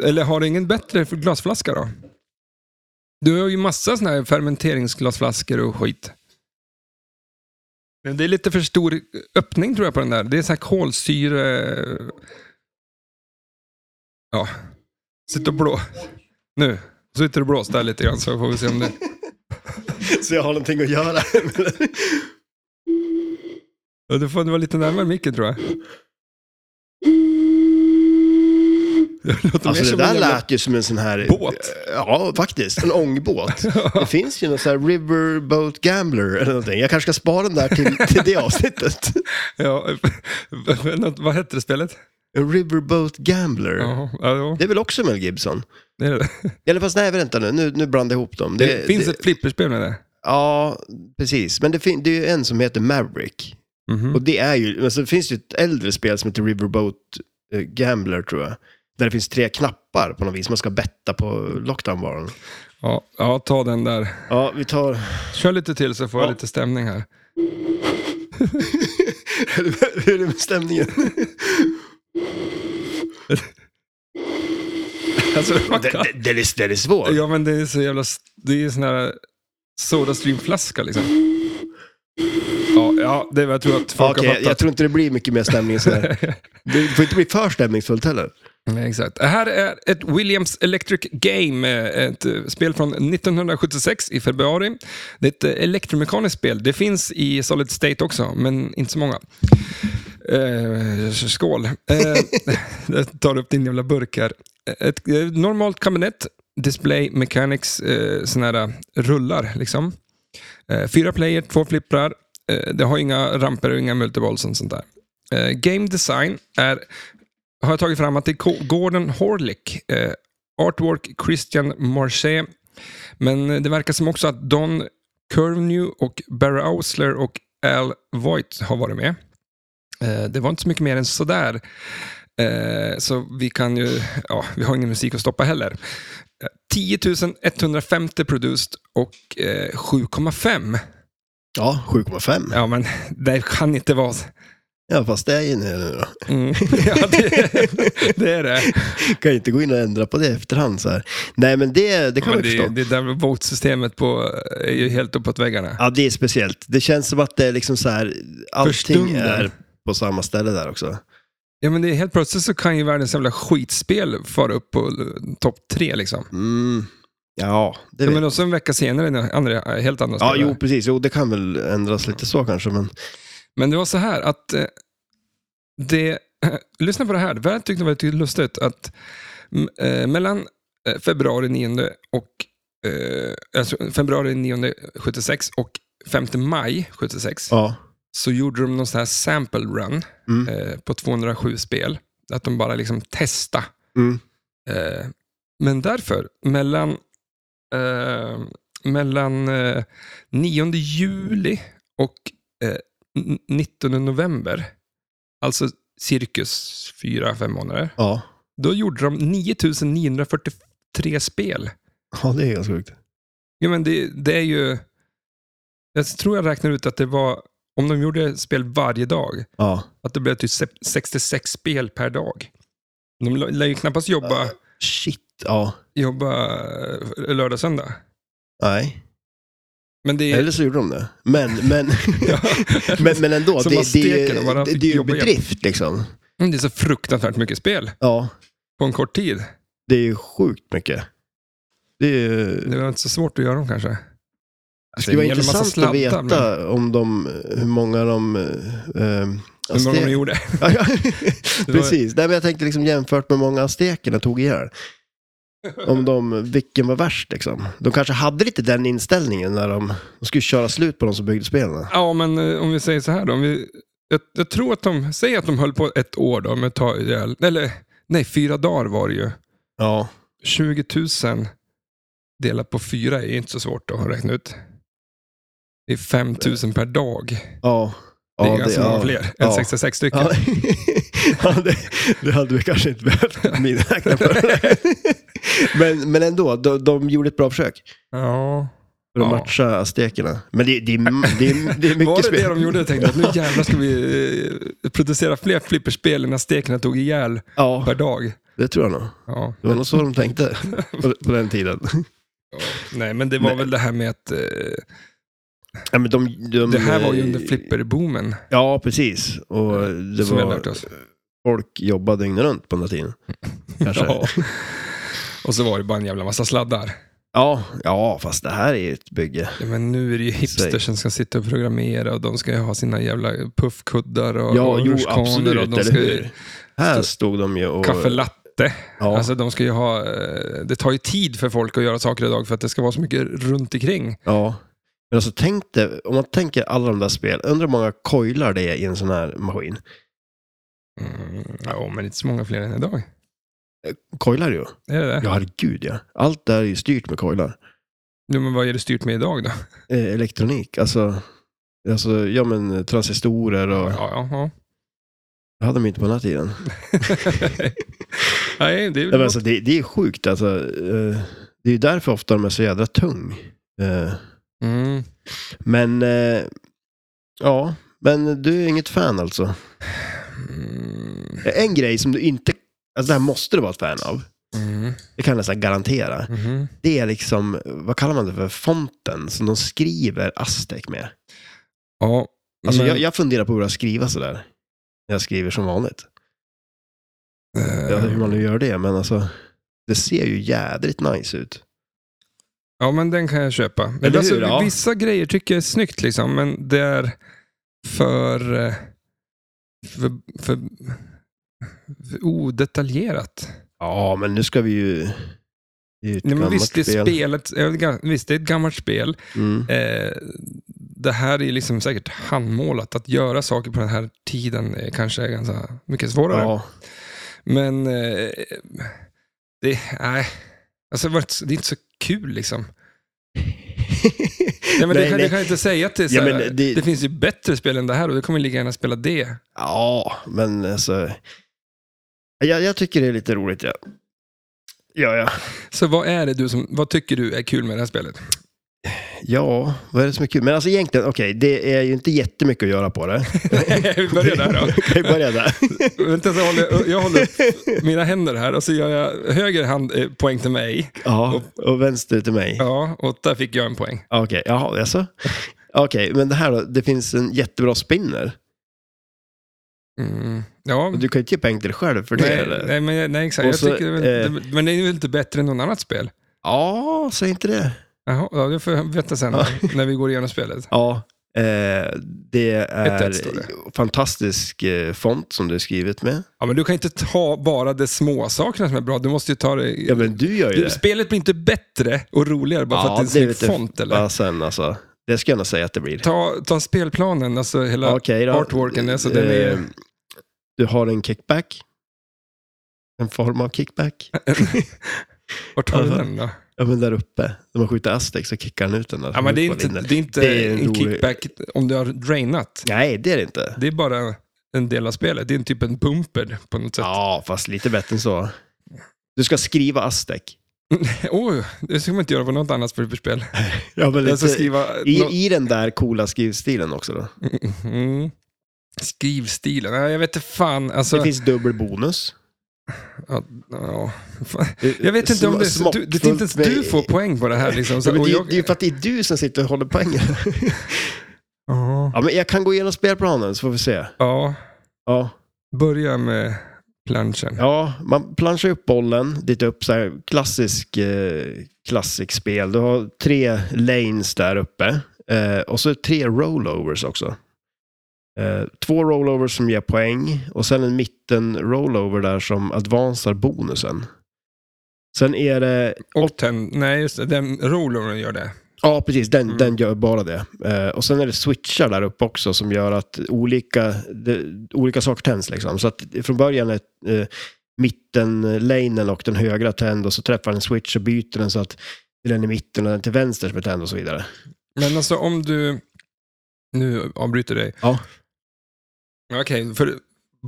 eller har du ingen bättre för glasflaska då? Du har ju massa såna här fermenteringsglasflaskor och skit. Men det är lite för stor öppning tror jag på den där. Det är så här kolsyre... eh, Ja. Sitt och blå. Nu. Sitter du och blåser där lite grann så får vi se om det...
Så jag har någonting att göra.
Ja, du får vara lite närmare micken tror jag. Det låter mer
alltså det
som
där
en jävla-
lät ju som en sån här...
Båt.
Ja, faktiskt. En ångbåt. Det finns ju någon sån här Riverboat Gambler eller någonting. Jag kanske ska spara den där till, till det avsnittet.
Ja, något, vad hette det spelet?
En riverboat gambler.
Ja, ja, ja.
Det är väl också Mel Gibson?
Det, är det.
Eller fast nej, vänta nu. Nu, nu blandade jag ihop dem.
det, finns
det,
ett flipperspel med det.
Ja, precis. Men det, fin- det är ju en som heter Maverick.
Mhm.
Och det är ju, men så finns det ju ett äldre spel som heter Riverboat eh, Gambler tror jag. Där det finns tre knappar på något vis. Man ska betta på lockdownvaran.
Ja, ja, ta den där.
Ja, vi tar...
Kör lite till så får jag
Ja.
lite stämning här.
Hur är det med stämningen?
Alltså, man
Den,
kan-
den, den, är, den är svår.
ja, men det är så jävla... Det är sån här Sodastreamflaska liksom. Ja, ja det, jag tror att
Ja,
folk
Okej,
har
jag
fattat.
tror inte det blir mycket mer stämning än sådär. Det får inte bli för stämningsfullt heller.
Nej, Exakt. Det här är ett Williams Electric Game, eh, ett eh, spel från 1976 i februari. Det är ett eh, elektromekaniskt spel. Det finns i Solid State också, men inte så många. Eh, skål. Eh, jag tar upp din jävla burk här. Ett eh, normalt kabinett, display, mechanics, eh, såna här rullar liksom. Eh, fyra player, två flipprar. Eh, det har inga ramper och inga multiballs och sånt där. Eh, game design är har jag tagit fram att det är Ko- Gordon Horlick. Eh, artwork Christian Marché. Men eh, det verkar som också att Don Curvenew och Barry Ausler och Al Voigt har varit med. Eh, det var inte så mycket mer än sådär. Eh, så vi kan ju, ja, vi har ingen musik att stoppa heller. Eh, 10 150 produced och eh, 7,5.
Ja, 7,5. Ja.
Ja, men det kan inte vara...
fast det är ju nu då.
Mm. ja, det, det är det.
Kan ju inte gå in och ändra på det i efterhand så här. Nej, men det, det kan
Men
man
det,
förstå.
det där med votsystemet på, eh, är ju helt uppåt väggarna.
Ja, det är speciellt. Det känns som att det är liksom så här, allting
stunden.
är på samma ställe där också.
Ja, men det är helt plötsligt så kan ju världens jävla skitspel fara upp på eh, topp tre. Liksom.
Mm. Ja, det
Ja,
vet
men också en vecka senare, när andra, eh, helt andra
Ja,
spelare.
jo, precis. Jo, det kan väl ändras lite så kanske, men
Men det var så här att eh, det... lyssna på det här. Det här tyckte jag var lite lustigt. Att, m- eh, mellan eh, februari 9 och... Eh, alltså, februari 9 76 och 5 maj 76
ja.
så gjorde de någon sån här sample run.
Mm.
eh, på 207 spel. Att de bara liksom testa.
Mm.
Eh, men därför, mellan, eh, mellan eh, 9 juli och eh, n- 19 november, alltså cirkus 4-5 månader,
Ja.
då gjorde de 9943 spel.
ja, det är ganska sjukt.
Ja, men det, det är ju... Jag tror jag räknar ut att det var, om de gjorde spel varje dag,
Ja.
att det blev typ se- 66 spel per dag. De lär lär ju knappast jobba,
Shit, ja.
jobba eh, lördag, söndag.
Nej.
Men det är...
Eller så gjorde de det. Men, men,
Ja.
men, men ändå,
Som
det,
bara
det, är ju-
steker och bara
det, det är ju en
jobbar igen.
bedrift liksom.
Men det är så fruktansvärt mycket spel
Ja,
på en kort tid.
det är ju sjukt mycket. Det, är, ju-
Det var inte så svårt att göra dem kanske.
Alltså, det skulle vara
en jävla massa
intressant att
sladdar,
veta
men-
om de, hur många de... Äh,
Hur många de gjorde.
Ja, ja. Precis. Nej, men jag tänkte liksom jämfört med många aztekerna tog ihjäl. Om de, vilken var värst liksom. De kanske hade lite den inställningen när de, de skulle köra slut på de som byggde spelen.
Ja, men eh, om vi säger så här då. Om vi, jag, jag tror att de, säger att de höll på ett år då med att ta ihjäl, eller nej, fyra dagar var det ju.
Ja.
20 000 delat på fyra är inte så svårt att räkna ut. Det är 5 000 per dag.
Ja.
Det är
ja,
ganska många fler än
ja.
66 stycken.
Ja. ja, det, det hade vi kanske inte behövt miniräkna på. men, men ändå, de, de gjorde ett bra försök
Ja.
för att
Ja.
matcha aztekerna. Men det, det, är, det, är, det är mycket
Var det
spel.
det de gjorde? Jag tänkte att nu jävlar ska vi eh, producera fler flipperspel innan stekarna tog ihjäl
Ja,
per dag.
det tror jag nog.
Ja.
Det var nog så de tänkte på, på den tiden.
Ja. Nej, men det var
Nej.
väl det här med att eh,
Ja, men de, de, eh,
det här var ju under flipperboomen.
Ja, precis. Och det
som vi har
var,
lärt oss.
folk jobbade dygnet runt på den här tiden. Kanske.
Ja. Och så var det bara en jävla massa sladdar.
Ja, ja, fast det här är ju ett bygge.
Ja, men nu är det ju hipsters som ska sitta och programmera och de ska ju ha sina jävla puffkuddar och,
Ja,
och
jo,
rutschkanor
absolut.
och de
eller
ska
hur?
ju
Här stod de ju och...
kaffe latte.
ja,
Alltså, de ska ju ha, eh, det tar ju tid för folk att göra saker idag för att det ska vara så mycket runt omkring.
ja. Men alltså tänk dig, om man tänker alla de där spel, undrar hur många coilar det är i en sån här maskin.
Mm, ja, men inte så många fler än idag.
Koilar ju.
Är det det?
Ja, herregud ja. Allt där är ju styrt med koilar.
Jo, men vad är det styrt med idag då?
Eh, elektronik, alltså. Alltså, ja men transistorer och...
ja, ja.
Det hade de inte på den här tiden.
Nej, det är väl
Ja, men alltså, det, det är sjukt alltså. Eh, det är ju därför ofta de är så jädra tung. Eh,
mm.
men, eh, ja. Men du är inget fan alltså.
Mm.
En grej som du inte, alltså det här måste du vara ett fan av.
Mm.
Det kan jag nästan garantera.
Mhm.
Det är liksom, vad kallar man det för, fonten som de skriver Aztec med.
Ja,
Alltså
men,
jag, jag funderar på hur jag skriva sådär. När jag skriver som vanligt.
eh,
Ja, hur man nu gör det, men alltså. Det ser ju jädrigt nice ut.
ja, men den kan jag köpa.
Eller
alltså,
hur? Ja.
Vissa grejer tycker jag är snyggt, liksom, men det är för, eh, för, för, för odetaljerat.
Ja, men nu ska vi ju... Det är ju ett
Nej, men
gammalt
visst, det är
spel.
spelet, ja, det är gam- visst, det är ett gammalt spel.
Mm.
Eh, det här är liksom säkert handmålat. Att göra saker på den här tiden är kanske ganska mycket svårare.
Ja,
Men eh, det, nej. Alltså, det var inte- det är inte så kul liksom. Nej, men det,
Nej,
kan, det
nej.
kan jag inte säga att det är så
Ja,
här,
men
det...
det-
finns ju bättre spel än det här och då kommer jag lika gärna spela det.
ja men alltså... Jag, jag tycker det är lite roligt, ja. Ja, ja.
Så vad är det du som, vad tycker du är kul med det här spelet?
Ja, vad är det som är kul? Men alltså egentligen, okej, det är ju inte jättemycket att göra på det.
Vi börjar där då.
Vi börjar där.
Vänta, så håller, jag- jag håller upp mina händer här och så gör jag höger hand eh, poäng till mig.
Ja, och vänster till mig.
Ja, och där fick jag en poäng.
Okej, jaha, alltså. Okej, men det här då, det finns en jättebra spinner.
Mm. Ja,
Och du kan ju inte ge pengar till dig själv för det,
nej,
eller?
nej, men, nej, exakt.
Och
Jag
så,
tycker, det är väl- men det är väl inte bättre än något annat spel?
Ja, säg inte det.
Jaha, ja, det får jag veta sen
Ja.
när vi går igenom spelet.
Ja, eh, det är
står det.
fantastisk eh, font som du är skrivet med.
Ja, men du kan inte ta bara de små sakerna som är bra. Du måste ju ta det...
Ja, men du gör ju
du,
det.
spelet blir inte bättre och roligare bara för
Ja,
att det är en
vet
snygg
jag
font. Eller?
Bara sen alltså. Det ska jag nog säga att det blir.
Ta, ta spelplanen, alltså hela...
Okej då.
artworken, alltså, den är-
Eh, Du har en kickback. En form av kickback.
Vart har du
Aha.
den då?
Ja, men där uppe. När man skjuter Aztec så kickar han ut den där.
Ja, men det är inte,
Vinner.
det är inte
Det är en
en
rolig-
kickback om du har drainat.
Nej, det är det inte.
Det är bara en del av spelet. Det är en typ en bumper på något sätt.
Ja, fast lite bättre än så. Du ska skriva Aztec.
Oj, Oh, det ska man inte göra på något annat flipperspel.
Ja,
Jag
men
ska
lite...
Alltså skriva...
I,
nå-
I den där coola skrivstilen också då.
Mm. Skrivstilen, nej jag vet inte fan. Alltså,
Det finns dubbel bonus.
ja, ja, fan. Jag vet inte om det,
Sm-
du, det är inte ens
smockfullt med-
du får poäng på det här. Liksom. Så,
Ja, men
och
det, är-
jag,
det är ju för att det är du som sitter och håller poängen.
ja,
ja, men jag kan gå igenom spelplanen så får vi se.
ja,
Ja,
börja med planschen.
ja man planchar upp bollen dit upp. Så här, klassisk, eh, klassisk spel. Du har tre lanes där uppe. Eh, och så tre rollovers också. Eh, två rollovers som ger poäng och sen en mitten rollover där som advansar bonusen. Sen är det
Och ten, nej just det, den rollern gör det.
Ja, precis. Den,
Mm.
den gör bara det. Eh, och sen är det switchar där uppe också som gör att olika, de, olika saker tänds. Liksom. Så att från början är eh, mitten-lanen och den högra tänd och så träffar den en switch och byter den så att det är den i mitten och den till vänster som är tänd och så vidare.
Men alltså om du, nu avbryter jag dig.
Ja.
Okej, för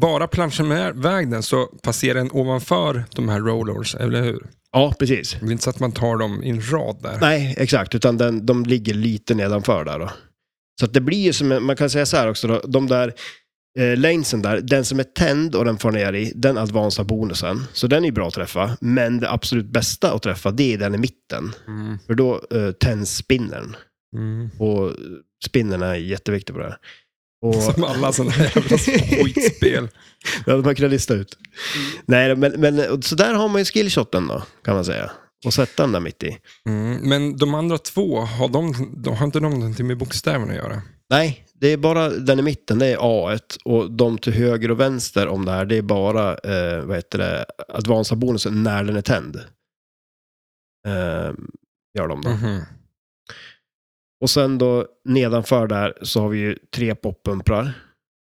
bara planschen med vägen så passerar den ovanför de här rollers, eller hur?
Ja, precis.
Det är inte så att man tar dem i en rad där.
Nej, exakt. Utan den, de ligger lite nedanför där då. Så att det blir ju som, en- man kan säga så här också då, de där eh, lanesen där, den som är tänd och den får ner i, den advansar bonusen. Så den är ju bra att träffa, men det absolut bästa att träffa, det är den i mitten.
Mm.
För då eh, tänds spinnern.
Mm.
Och spinnern är jätteviktig på det här. Och,
Som alla sådana här jävla skitspel.
det hade man kunnat lista ut. Nej, men, men och så där har man ju skillshoten då, kan man säga. Och sätta den där mitt i.
Mm. Men de andra två, har, de, de, har inte de någonting med bokstäverna att göra?
Nej, det är bara den i mitten, det är A1. Och de till höger och vänster om det här, det är bara eh, vad heter det, advansa-bonusen när den är tänd. Eh, gör de då.
Mhm.
Och sen då nedanför där så har vi ju tre poppumprar.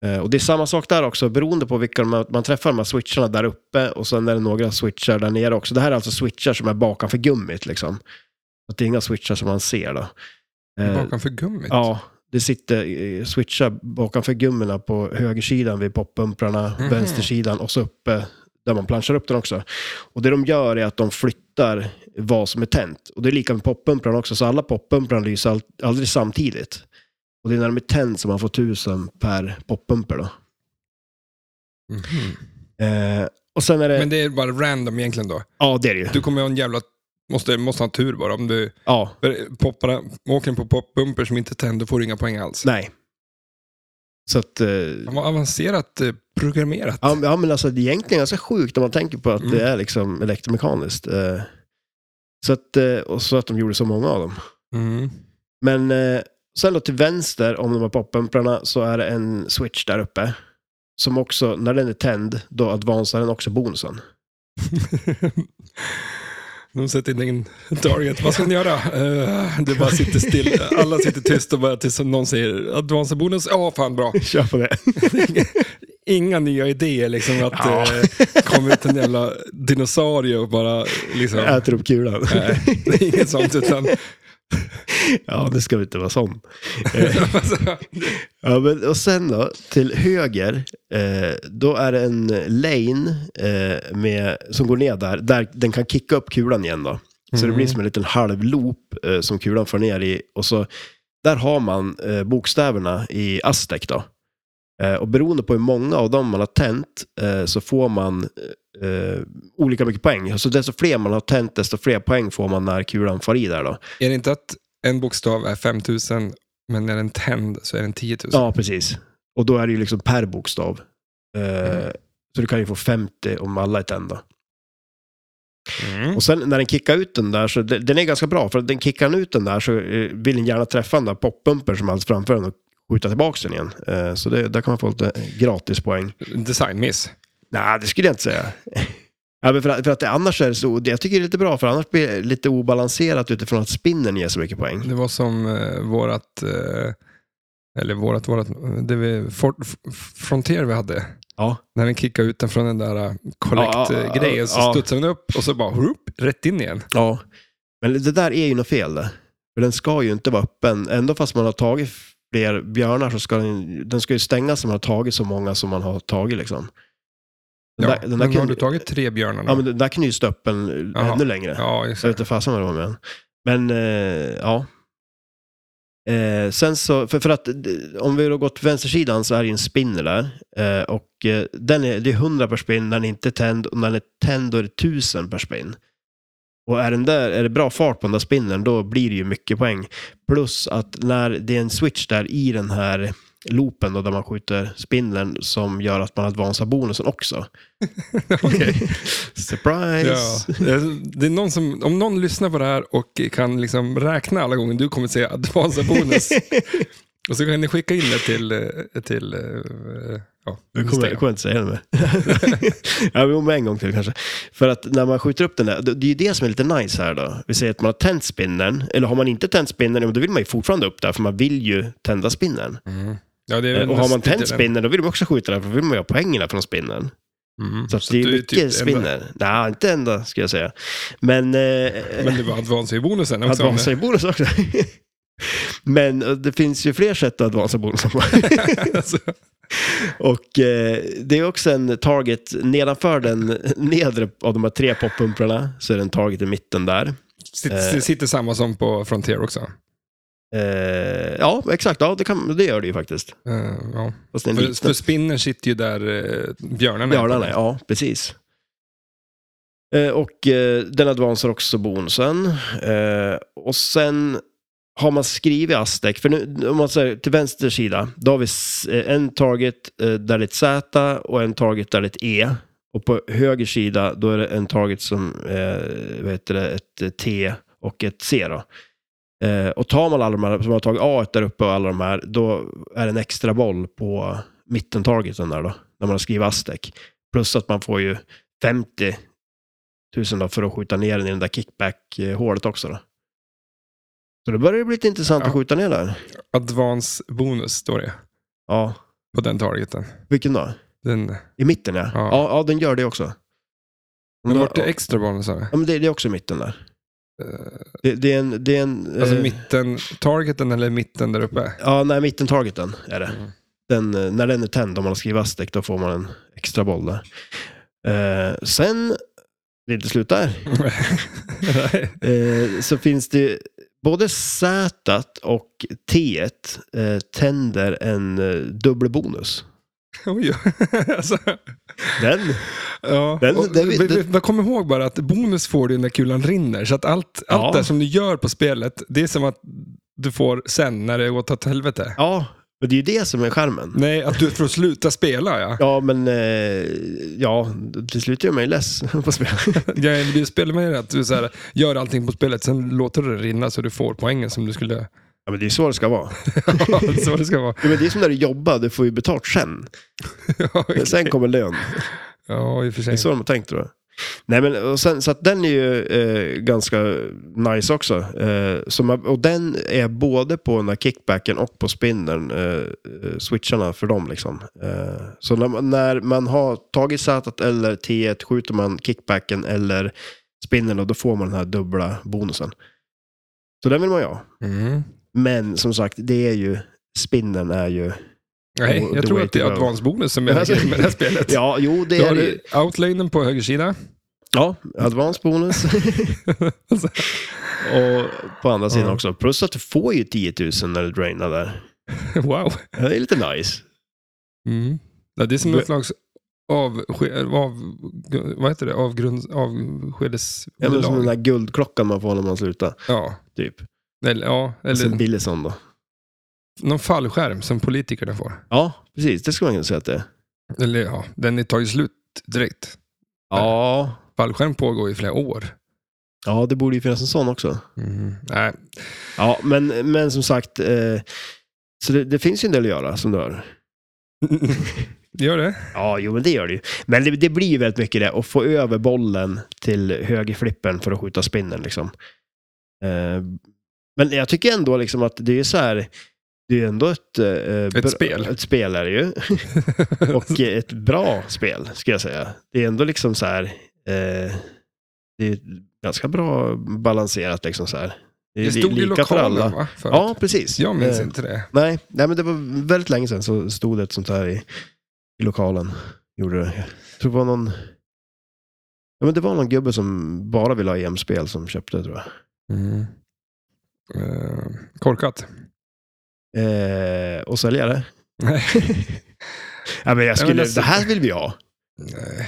Eh, Och det är samma sak där också, beroende på vilka man, man träffar, de här switcharna där uppe och sen är det några switchar där nere också. Det här är alltså switchar som är bakanför gummit liksom. Att det är inga switchar som man ser då. Eh,
Bakanför gummit?
Ja, det sitter eh, switchar bakanför gummorna på högersidan vid poppumprarna,
Mhm.
vänstersidan och så uppe där man planchar upp den också. Och det de gör är att de flyttar vad som är tänt. Och det är lika med poppumprarna också, så alla poppumprar lyser all- aldrig samtidigt. Och det är när de är tänt som man får tusen per poppumper då.
Mhm.
Eh, och sen är det...
Men det är bara random egentligen då.
ja, det är det ju.
Du kommer ju ha en jävla... Måste, måste ha tur bara. Om du
Ja,
för poppar, åker på poppumper som inte tänder får du inga poäng alls.
nej. Så att... Eh,
Han var avancerat eh, programmerat.
ja, men- ja, men alltså det är egentligen ganska sjukt om man tänker på att
Mm.
det är liksom elektromekaniskt. Eh, så att, eh, och så att de gjorde så många av dem.
Mm.
Men eh, sen då till vänster om de här poppumprarna så är det en switch där uppe. Som också, när den är tänd, då advansar den också bonusen.
De sätter in en target. Vad ska ni göra? Eh, det bara sitter still. Alla sitter tyst och bara tills någon säger advance bonus. Ja, fan bra.
Kör på det.
Inga nya idéer liksom. Att
Ja.
eh, kommer ut en jävla dinosaurie och bara liksom.
Äter upp kulan.
Nej, det är inget sånt utan.
Ja, det ska väl inte vara sån. Eh, Ja, men, och sen då, till höger, eh, då är det en lane eh, med, som går ner där, där den kan kicka upp kulan igen då. Så det
Mm.
blir som en liten halv loop eh, som kulan får ner i. Och så, där har man eh, bokstäverna i Aztec då. Eh, och beroende på hur många av dem man har tänt eh, så får man eh, olika mycket poäng. Så desto fler man har tänt, desto fler poäng får man när kulan far i där då.
är det inte att en bokstav är 5000 men när den tänd så är den 10 000?
Ja, precis. Och då är det ju liksom per bokstav. Eh,
Mm.
Så du kan ju få 50 om alla är tända.
Mm.
Och sen när den kickar ut den där, så de- den är ganska bra, för den kickar den ut den där så eh, vill den gärna träffa den där poppumpen som alls framför den och skjuta tillbaka den igen. Eh, Så det, där kan man få lite gratis poäng.
Designmiss.
Nej, det skulle jag inte säga. Ja, men för, att, för att det annars är det så, det jag tycker det är lite bra, för annars blir det lite obalanserat utifrån att spinnen ger så mycket poäng.
Det var som eh, vårat, eh, eller vårat, vårat, det vi, for, f- Frontier vi hade.
Ja.
När vi kickade ut den från den där eh,
Ja,
collect-grejen
ja,
så
ja.
studsade den upp och så bara whoop, rätt in igen.
Ja, men det där är ju något fel det. För den ska ju inte vara öppen. Ändå fast man har tagit fler björnar så ska den, den ska ju stängas om man har tagit så många som man har tagit liksom. Den
Ja,
där- den där
men har
kunde-
du tagit tre björnar nu?
Ja, men den där knyts öppen
Jaha.
ännu längre.
Ja,
Så jag
exakt.
vet inte fasen vad det var med den. Men, eh, ja. Eh, sen så, för, för att eh, om vi då går till vänstersidan så är det ju en spinner där. Eh, och eh, den är, det är 100 per spinn när den inte är tänd och när den är tänd då är det 1000 per spinn. Och är, den där, är det bra fart på den där spinnen då blir det ju mycket poäng. Plus att när det är en switch där i den här loopen då, där man skjuter spinnen som gör att man advansar bonusen också.
Okej.
Surprise!
Ja. Det är någon som, om någon lyssnar på det här och kan liksom räkna alla gånger du kommer säga advance bonus och så kan ni skicka in det till, eh, till eh, ja,
Jag kommer, jag kommer inte säga det mer. ja, men om en gång till kanske. För att när man skjuter upp den där, det, det är ju det som är lite nice här då. Vi säger att man har tänt spinnen, eller har man inte tänt spinnen, ja, men då vill man ju fortfarande upp där, för man vill ju tända spinnen.
Mm. Ja, det är
Eh,
väl
Och har man
mest
tänt
titeln.
spinnen, då vill man också skjuta där, för då vill man ju ha poängerna från spinnen.
Mm.
Så, att
Så
det är
du
mycket
typ enda-
spinner. Nej, inte enda, skulle jag säga. Men... eh,
Men det var advance i bonusen också.
Advansa i bonus också. Men eh, det finns ju fler sätt att advansa bonusen på.
alltså,
Och eh, det är också en target nedanför den nedre av de här tre poppumprarna. Så är det en target i mitten där.
sitter,
Eh.
sitter samma som på Frontier också.
Eh, ja, exakt. Ja, det, kan, det gör det ju faktiskt.
Eh, ja.
Fast det är en
för,
liten
för spinnen sitter ju där eh, björnarna är.
björnarna. Ja, precis. Eh, och eh, den advansar också bonusen. Eh, och sen har man skrivit Aztec, för nu, om man säger till vänster sida, då har vi s- eh, en target eh, där det är ett Z och en target där det är ett E. Och på höger sida, då är det en target som, eh, vad heter det, ett eh, T och ett C då. Eh, och tar man alla de här, som har tagit A där uppe och alla de här, då är det en extra boll på mittentargeten där då, när man har skrivit Aztec. Plus att man får ju 50 000 då för att skjuta ner den i den där kickback-hålet också. Då. Så det börjar det bli lite intressant
Ja.
att skjuta ner där.
Advance bonus står det.
Ja,
på den targeten.
Vilken då?
Den,
I mitten ja.
Ja.
Ja, ja, den gör det också.
men
Ja,
vart är extra bollen sa vi?
ja, men det, det är också i mitten där.
Eh,
Det, det är en... Det är en
Alltså
eh,
mitten, targeten eller mitten där uppe?
Ja, nej, mitten-targeten är det.
Mm.
Den, eh, när den är tänd, om man skriver Aztec, då får man en extra boll där. Eh, sen, det är inte slut där,
Nej.
eh, så finns det både Z och T eh, tänder en eh, dubbelbonus.
Oj, alltså,
Den,
ja.
Den-
Och
den-
vi- vi-
den-
men Kom ihåg bara att bonus får du när kulan rinner. Så att allt,
Ja.
allt det som du gör på spelet, det är som att du får sen när det går åt helvete.
ja, men det är ju det som är charmen.
Nej, att du får sluta spela ja.
Ja, men eh, ja, till slut gör man ju less på spel.
ja det blir spel med att du så här, gör allting på spelet, sen låter du det rinna så du får poängen som du skulle...
Ja, men det är så det ska vara.
Ja, så det ska vara.
Ja, men det är som när du jobbar, du får ju betalt sen.
Ja, okej.
Sen kommer lön.
ja i och för
Det är
sig.
så de har tänkt tror jag. Nej, men, och sen, så att den är ju eh, ganska nice också. Eh, så man, och den är både på den här kickbacken och på spinnern, eh, eh, switcharna för dem. Liksom. Eh, så när man, när man har tagit Z eller T1 skjuter man kickbacken eller spinnern och då får man den här dubbla bonusen. Så den vill man ju ha.
Mm.
Men som sagt, det är ju, spinnern är ju...
Nej,
The
jag tror
way
att det
to
är
go.
advance-bonus som är
Alltså-
grejen med det här spelet.
Ja, jo, det
Då har
är ju...
du outlanen på höger sida.
Ja, advance bonus.
Alltså,
Och på andra sidan
Ja.
också. Plus att du får ju 10 000 när du drainar där.
wow.
Ja, Det är lite nice.
Mm. Ja, det är som en
Men-
slags av, av, vad heter det? Avgrund, avskedes...
Ja, men som den där guldklockan man får när man slutar.
ja.
Typ. Alltså
Eller, ja,
Eller...
eller
Sen Billison då.
någon fallskärm som politikerna får.
Ja, precis. Det skulle man kunna säga att det är.
Eller ja, den är tagit slut direkt.
Ja.
Fallskärm pågår i flera år.
Ja, det borde ju finnas en sån också.
Nej.
Ja, men, men som sagt. Eh, så det, det finns ju en del att göra som du hör.
Gör det?
Ja, jo men det gör det ju. Men det, det blir ju väldigt mycket det. Att få över bollen till högerflippen för att skjuta spinnen liksom. Eh, men jag tycker ändå liksom att det är så här. Det är ju ändå ett... eh, bra-
spel.
Ett spel är det ju. Och eh, ett bra spel, ska jag säga. Det är ändå liksom så här... Eh, det är ganska bra balanserat liksom så här. Det är
det
li-
stod i
lika för
lokalen
alla.
va? Förut.
Ja, precis.
Jag minns
Eh,
inte det.
Nej, nej, men det var väldigt länge sedan så stod det ett sånt här i, i lokalen. Gjorde det. Jag tror det var någon... Ja, men det var någon gubbe som bara ville ha EM-spel som köpte, tror jag.
Mm. Eh, korkat.
Eh, och sälja det.
Nej.
ja, men jag skulle,
alltså-
det här vill vi ha.
Nej.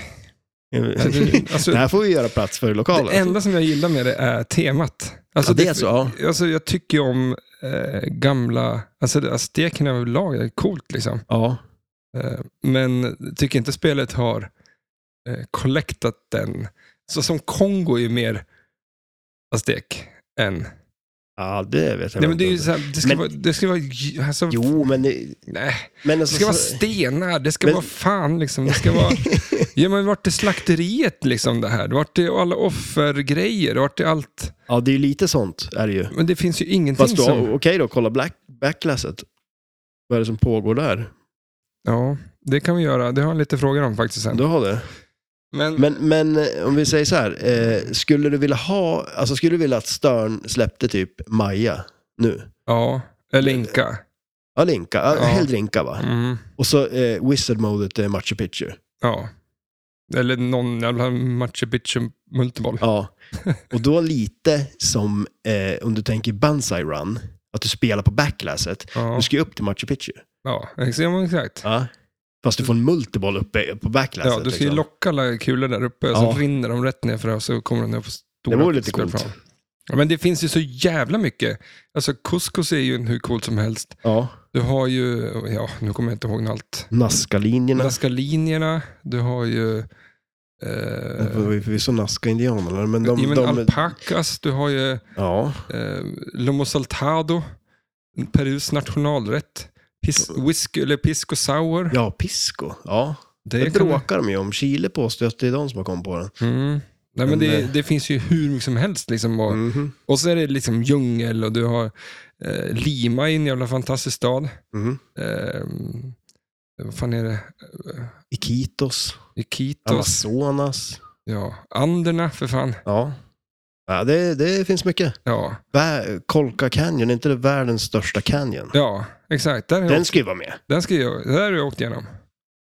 det
Alltså,
här får vi göra plats för i lokalen.
det enda som jag gillar med det är temat. Alltså,
ja, det är så, ja.
Alltså, jag tycker ju om eh, gamla... Alltså, det- aztekerna överlag är coolt liksom.
ja.
Eh, men tycker inte spelet har eh, collectat den. Så som Kongo är ju mer aztek än...
Ja, det vet jag
Nej, men
inte.
det, är ju så här, det ska
Men-
vara... Det ska vara j- alltså,
Jo, men... det-
nej.
men
Det
alltså,
ska vara
så-
stenar, det ska
Men-
vara fan liksom. Det ska vara... Ja men vart är slakteriet liksom det här? Vart är alla offergrejer? Vart är allt?
ja, det är ju lite sånt, är det ju.
Men det finns ju ingenting
Fast då, okej
som...
då, kolla black, backlasset. Vad är det som pågår där?
Ja, det kan vi göra. Det har jag lite frågor om faktiskt sen.
Du har det.
Men,
Men, men eh, om vi säger så här, eh, skulle du vilja ha, alltså skulle du vilja att Stern släppte typ Maja nu?
ja, eller Inka.
Ja, Linka, ja.
Ja.
hellre Linka va?
Mm,
Och så eh, Wizard-modet är Machu Picchu.
ja. Eller någon jävla Machu Picchu multiboll.
Ja. Och då lite som eh, om du tänker Banzai Run, att du spelar på backlasset.
Ja,
Du ska ju upp till Machu Picchu.
ja ex- ja, men exakt.
Ja. Fast du får en multiboll uppe på backlasset.
Ja, du ska ju
liksom.
locka alla kulor där uppe
Ja.
så rinner de rätt ner för och så kommer de ner på stora
Det vore lite coolt.
spelplan. Ja, men det finns ju så jävla mycket. Alltså couscous är ju hur coolt som helst.
Ja,
Du har ju, ja nu kommer jag inte ihåg allt.
Nazca-linjerna.
Nazca-linjerna, du har ju...
Det
Eh,
var ju förvisso Nazca-indianerna, men de...
ja, men
de
alpacas, du har ju
ja.
eh, Lomo Saltado, Perus nationalrätt, pis, whisk, eller Pisco Sour.
ja, Pisco. Ja.
det
Det
kan man-
bråkar de ju om. Chile påstår att det är de som har kommit på den.
Mm. Nej, men
Men,
det,
eh,
det finns ju hur mycket som helst. Liksom, och,
Mhm.
och så är det liksom djungel och du har eh, Lima i en jävla fantastisk stad.
Mhm.
Eh, vad fan är det?
Iquitos,
Iquitos,
Amazonas.
ja, Anderna för fan.
Ja, ja det, det finns mycket.
Ja,
Vä- Kolka Canyon, är inte det världens största canyon?
ja exakt. Där har jag
Den ska ju vara med.
Den ska jag, det där har jag åkt igenom.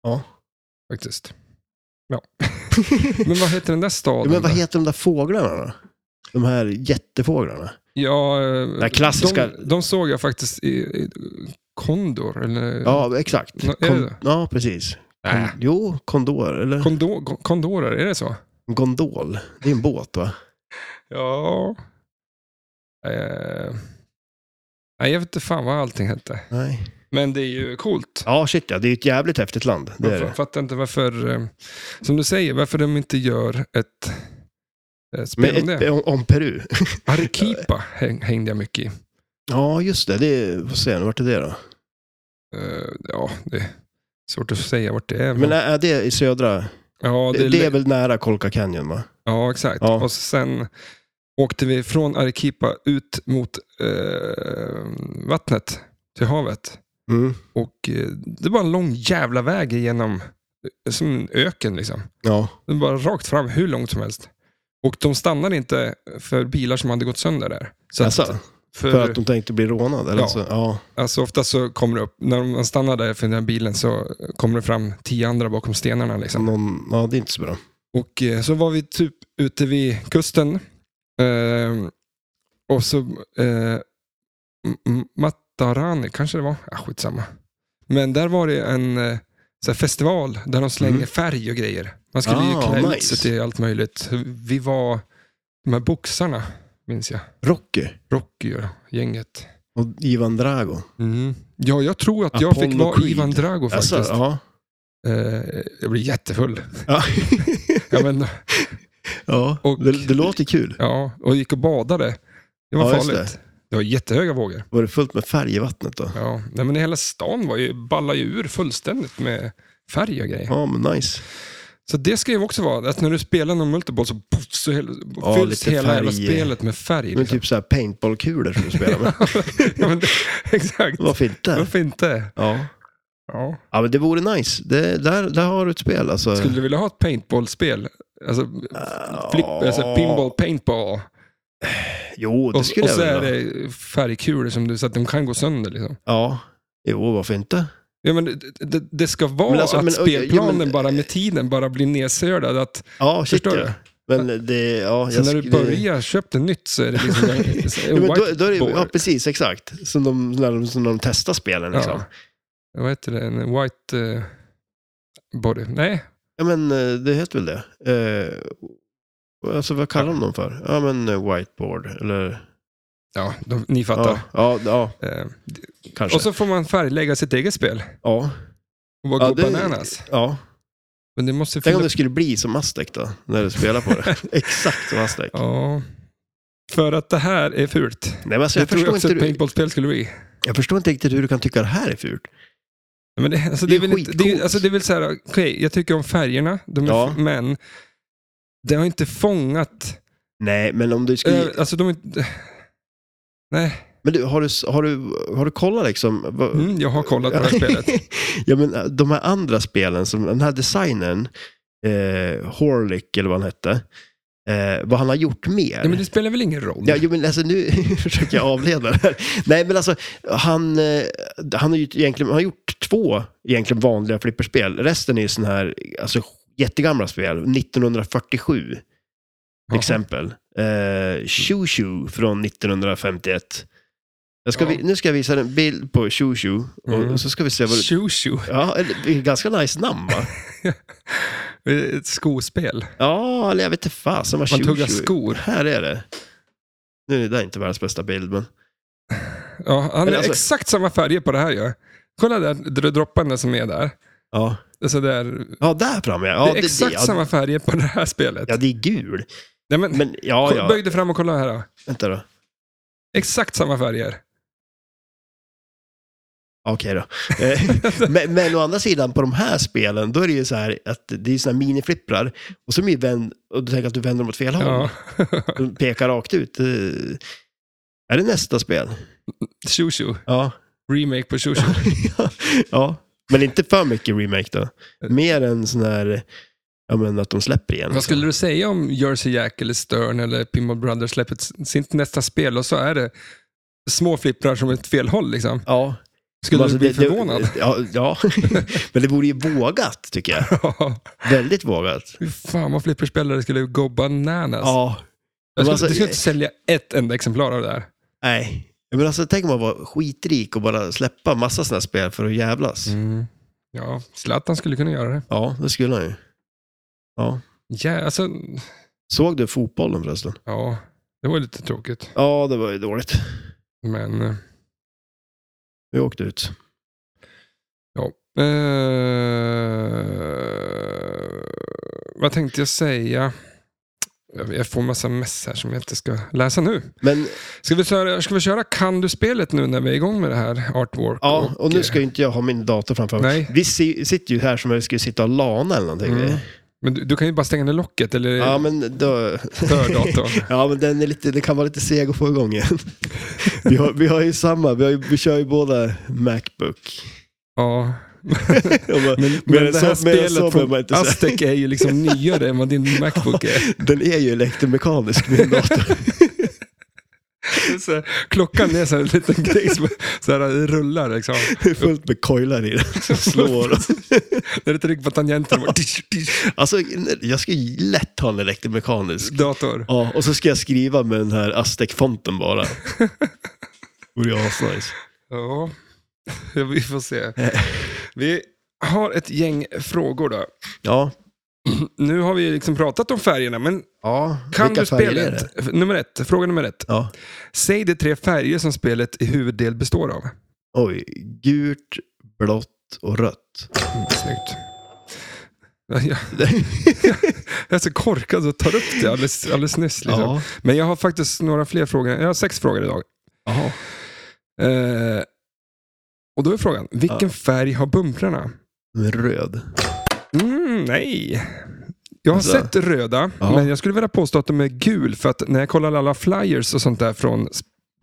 Ja.
Faktiskt. Ja. men vad heter den där
Ja,
staden?
men vad
då?
heter de där fåglarna då? De här jättefåglarna?
ja, eh,
här klassiska-
de, de såg jag faktiskt i, i Kondor. Eller,
Ja, exakt.
Nå- är det
Kon-
det?
ja, precis. Kon-
Nä.
Jo, kondor, eller?
Kondo, kondorer, är det så?
Gondol. Det är en båt, va?
Ja. Eh, nej, jag vet inte fan vad allting hette.
Nej.
Men det är ju coolt.
Ja, shit ja. Det är ju ett jävligt häftigt land. Det är
Jag fa-
det.
fattar inte varför, eh, som du säger, varför de inte gör ett eh, spel om
Men ett,
det.
om, om Peru.
Arequipa häng, hängde jag mycket i.
Ja, just det. det är, vad säger jag, vart är det då?
Eh, ja, det är svårt att säga vart det är. Men,
Men är är det i södra?
ja,
det,
det,
är väl nära Kolka Canyon, va?
ja, exakt.
Ja.
Och sen åkte vi från Arequipa ut mot eh, vattnet, till havet.
Mm.
Och eh, det var en lång jävla väg igenom, eh, som en öken liksom.
Ja.
Den var rakt fram hur långt som helst. Och de stannade inte för bilar som hade gått sönder där. Så
Alltså,
att,
för, att de tänkte bli rånade? Eller
Ja.
så. ja.
Alltså ofta så kommer det upp, när man stannar där för den här bilen så kommer det fram tio andra bakom stenarna. Liksom.
Någon, ja, det är inte så bra.
Och eh, så var vi typ ute vid kusten. Eh, och så eh, M- M- Matarani kanske det var. Ah, skitsamma. Men där var det en eh, så här festival där de slänger
Mm.
färg och grejer. Man skulle
Ah,
ju klä ut
nice.
sig till allt möjligt. Vi var, de här boxarna minns jag.
Rocky
Rocky och gänget.
och Ivan Drago.
Mm. Ja, jag tror att jag fick
Apollo
vara
Creed.
Ivan Drago faktiskt.
Alltså, ja.
eh, jag blir jättefull.
Ja.
Ja, men,
ja.
Och-
det, det låter kul.
Ja, och gick och badade. Det var
Ja, just
farligt. Det. var jättehöga vågor.
Var det fullt med färg i vattnet då?
Ja, nej, men hela stan var ju, ballade ju ur fullständigt med färg och grejer.
Ja, men nice.
Så det ska ju också vara, att när du spelar någon multiball så, puff, så hel,
Ja,
fylls
lite
hela
färg.
jävla spelet med färg.
Men
Liksom.
typ så här paintballkulor som du spelar med.
ja, men det, exakt.
Varför inte?
Varför inte?
Ja.
Ja.
ja, men det vore nice. Det, där, där har du ett spel alltså.
Skulle du vilja ha ett paintballspel? Alltså,
Ja.
flip, alltså pinball, paintball.
Jo, det
Och,
skulle
och
jag
så
vilja.
är det färgkulor som du, så att de kan gå sönder. Liksom.
Ja, jo, varför inte?
Ja, men det, det, det ska vara
Men alltså,
att
men, ja,
spelplanen
men-
bara med tiden bara blir nedsördad. Att,
Ja, shit
Förstår
ja. Men det, ja,
så
jag
när du
sk-
börjar köpa det nytt så är det liksom en,
Ja,
en
men då, då är det,
whiteboard.
ja, precis, exakt. Som de, när de, som de testar spelen liksom. Ja,
Ja. Vad heter det? En white eh, body? Nej,
men eh, det heter väl det. Eh, alltså vad kallar de dem för? Ja, men eh, whiteboard eller...
ja, de, ni
Ja,
fattar.
ja, ja
Eh,
kanske.
och så får man färglägga sitt eget spel
ja,
och bara
Ja,
gå
det-
bananas.
ja.
Men det måste
Tänk om
fylla...
det skulle bli som Aztec då, när du spelar på det. Exakt som Aztec.
Ja. För att det här är fult.
Nej, men alltså,
Det
jag,
tror jag
förstår
också
inte,
ett
hur-
paintballspel skulle bli.
jag förstår inte riktigt hur du kan tycka det här är fult.
Men det, alltså,
Det
det,
är
är väl inte, det, är,
skitcoolt.
alltså, det är väl så här, okej, jag tycker om färgerna, de är,
Ja.
f- men det har inte fångat...
Nej, men om du skulle...
Äh, alltså de är inte... Nej,
Men du, har du, har du, har du kollat liksom? vad-
mm, jag har kollat på det här spelet.
ja, men äh, de här andra spelen, som den här designen, eh, Horlick eller vad han hette, eh, vad han har gjort mer.
Ja, men det spelar väl ingen roll?
Ja, jo, men alltså nu försöker jag avleda det här. Nej, men alltså han, eh, han har ju egentligen han har gjort två egentligen vanliga flipperspel. Resten är ju sådana här alltså, jättegamla spel. 1947 till
Jaha.
exempel. Eh, Shoo Shoo från 1951. Jag ska
Ja.
vi, nu ska jag visa en bild på Shoo Shoo och
Mm.
så ska vi se vad det...
Shoo Shoo,
Ja, eller- det är ett ganska nice namn va?
ett skospel.
Ja, eller jag vet inte fasen vad
Man
Shoo
tuggar
Shoo...
skor.
Här är det. Nu är det där inte världens bästa bild, men...
Ja, han har
Eller alltså-
exakt samma färger på det här ju. Kolla där, där droppen som är där.
Ja.
Alltså där,
Ja, där framme ja.
det
ja
är exakt
ja,
samma färger på det här spelet.
Ja, det är gul.
Nej, men,
Men ja,
ko-
ja.
Böj dig fram och kolla här då.
Vänta då.
Exakt samma färger.
Okej då. Eh, men, men å andra sidan, på de här spelen, då är det ju så här att det är såna här miniflipprar. Och så är de ju vänd, och du tänker att du vänder dem åt fel håll.
Ja.
De pekar rakt ut. Eh, är det nästa spel?
Shoo Shoo,
Ja.
remake på Shoo Shoo.
ja. Men inte för mycket remake då. Mer än sån här, ja men att de släpper igen.
Vad skulle du säga om Jersey Jack eller Stern eller Pinball Brothers släpper ett- sitt nästa spel och så är det små flipprar som ett fel håll liksom?
Ja.
Skulle
Alltså,
du bli
det- det-
förvånad?
Ja, ja. men det vore ju vågat tycker jag.
Ja.
Väldigt vågat.
Fy Fan vad flipperspelare skulle gå bananas.
Ja.
jag skulle,
alltså,
du skulle inte sälja ett enda exemplar av det här.
Nej. Men alltså tänk om man var skitrik och bara släppa massa sådana spel för att jävlas.
Mm. Ja, Zlatan skulle kunna göra det.
Ja, det skulle han ju. Ja.
Ja, alltså,
Såg du fotbollen förresten?
ja, det var lite tråkigt.
Ja, det var ju dåligt.
Men, eh,
Vi åkte ut.
ja. Eh, vad tänkte jag säga? Jag jag får massa mess här som jag inte ska läsa nu.
Men
Ska vi köra, ska vi köra Kan du-spelet nu när vi är igång med det här artwork?
ja, och nu
eh,
ska ju inte jag ha min dator framför mig.
Nej,
Vi si- sitter ju här som om vi skulle sitta och lana eller någonting.
Mm. men du, du kan ju bara stänga ner locket eller
Ja, men då...
dör datorn.
Ja, men den, är lite, den kan vara lite seg att få igång igen. Vi har, vi har ju samma, vi, har ju, vi kör ju båda Macbook.
Ja.
Och man-
Men,
Men
men det
så-
här
men så
spelet
behöver man
från
inte säga.
Aztec är ju liksom nyare än vad din Macbook är.
Alltså, Den är ju elektromekanisk, min dator.
Det är så här, Klockan är så här en liten grej som så här rullar. Liksom.
Det är fullt med coilar i den som slår.
När du trycker på tangenten, bara, tisch, tisch,
Alltså, jag ska ju lätt ha en elektromekanisk.
dator.
Ja, och så ska jag skriva med den här Aztec-fonten bara. Vore ju asnice.
Ja, vi får se. Vi har ett gäng frågor då.
Ja.
Nu har vi liksom pratat om färgerna, men
ja.
kan
vilka
du
färger är
spelet?
det?
F- Nummer ett, fråga nummer ett.
Ja.
Säg de tre färger som spelet i huvuddel består av.
Oj, gult, blått och rött.
Mm, Snyggt. Jag, jag är så korkad och tar upp det alldeles, alldeles nyss. Liksom.
Ja.
Men jag har faktiskt några fler frågor. Jag har sex frågor idag.
Jaha.
Eh, och då är frågan, vilken
Ja.
färg har bumprarna?
Men röd.
Mm, nej. Jag har
Alltså.
sett röda,
Ja.
men jag skulle vilja påstå att de är gul. För att när jag kollar alla flyers och sånt där från,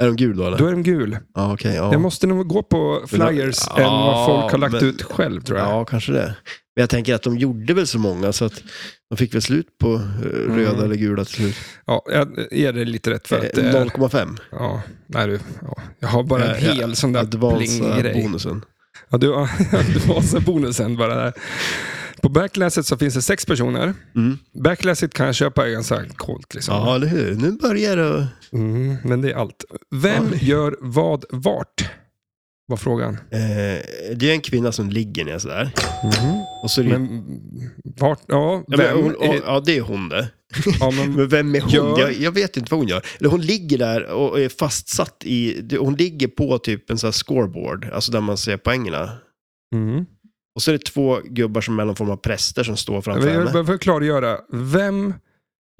Är de gul då eller?
då är de gul.
Ja, okej. ja.
Jag måste nog gå på flyers
Ja,
än vad folk har lagt
men-
ut själv tror jag.
Ja, kanske det. Men jag tänker att de gjorde väl så många så att de fick väl slut på eh, röda
Mm.
eller gula till slut.
Ja, jag ger dig lite rätt för att det
Eh,
är
0,5.
Ja, nej du. Ja. Jag har bara en
Eh,
hel sån där bling-grej.
Advansa-bonusen.
Ja, du, ja, du har så bonusen bara där. På backlasset så finns det sex personer.
Mm.
Backlasset kan jag köpa är ganska coolt. Liksom.
Ja, eller hur. Nu börjar det.
Mm, men det är allt. Vem
Ja.
gör vad vart? Var frågan.
Eh, det är en kvinna som ligger ner sådär. Och så är det,
Men vart? Ja,
Mm. ja,
vem?
men, hon,
är-
ja, det är hon det.
ja, men,
Men vem är hon?
Gör-
Jag, jag vet inte vad hon gör. Eller hon ligger där och är fastsatt i... det- Hon ligger på typ en sån här scoreboard, alltså där man ser poängerna.
mm.
Och så är det två gubbar som är någon form av präster som står
Jag
framför
vill- jag
henne.
vill bara klargöra. Vem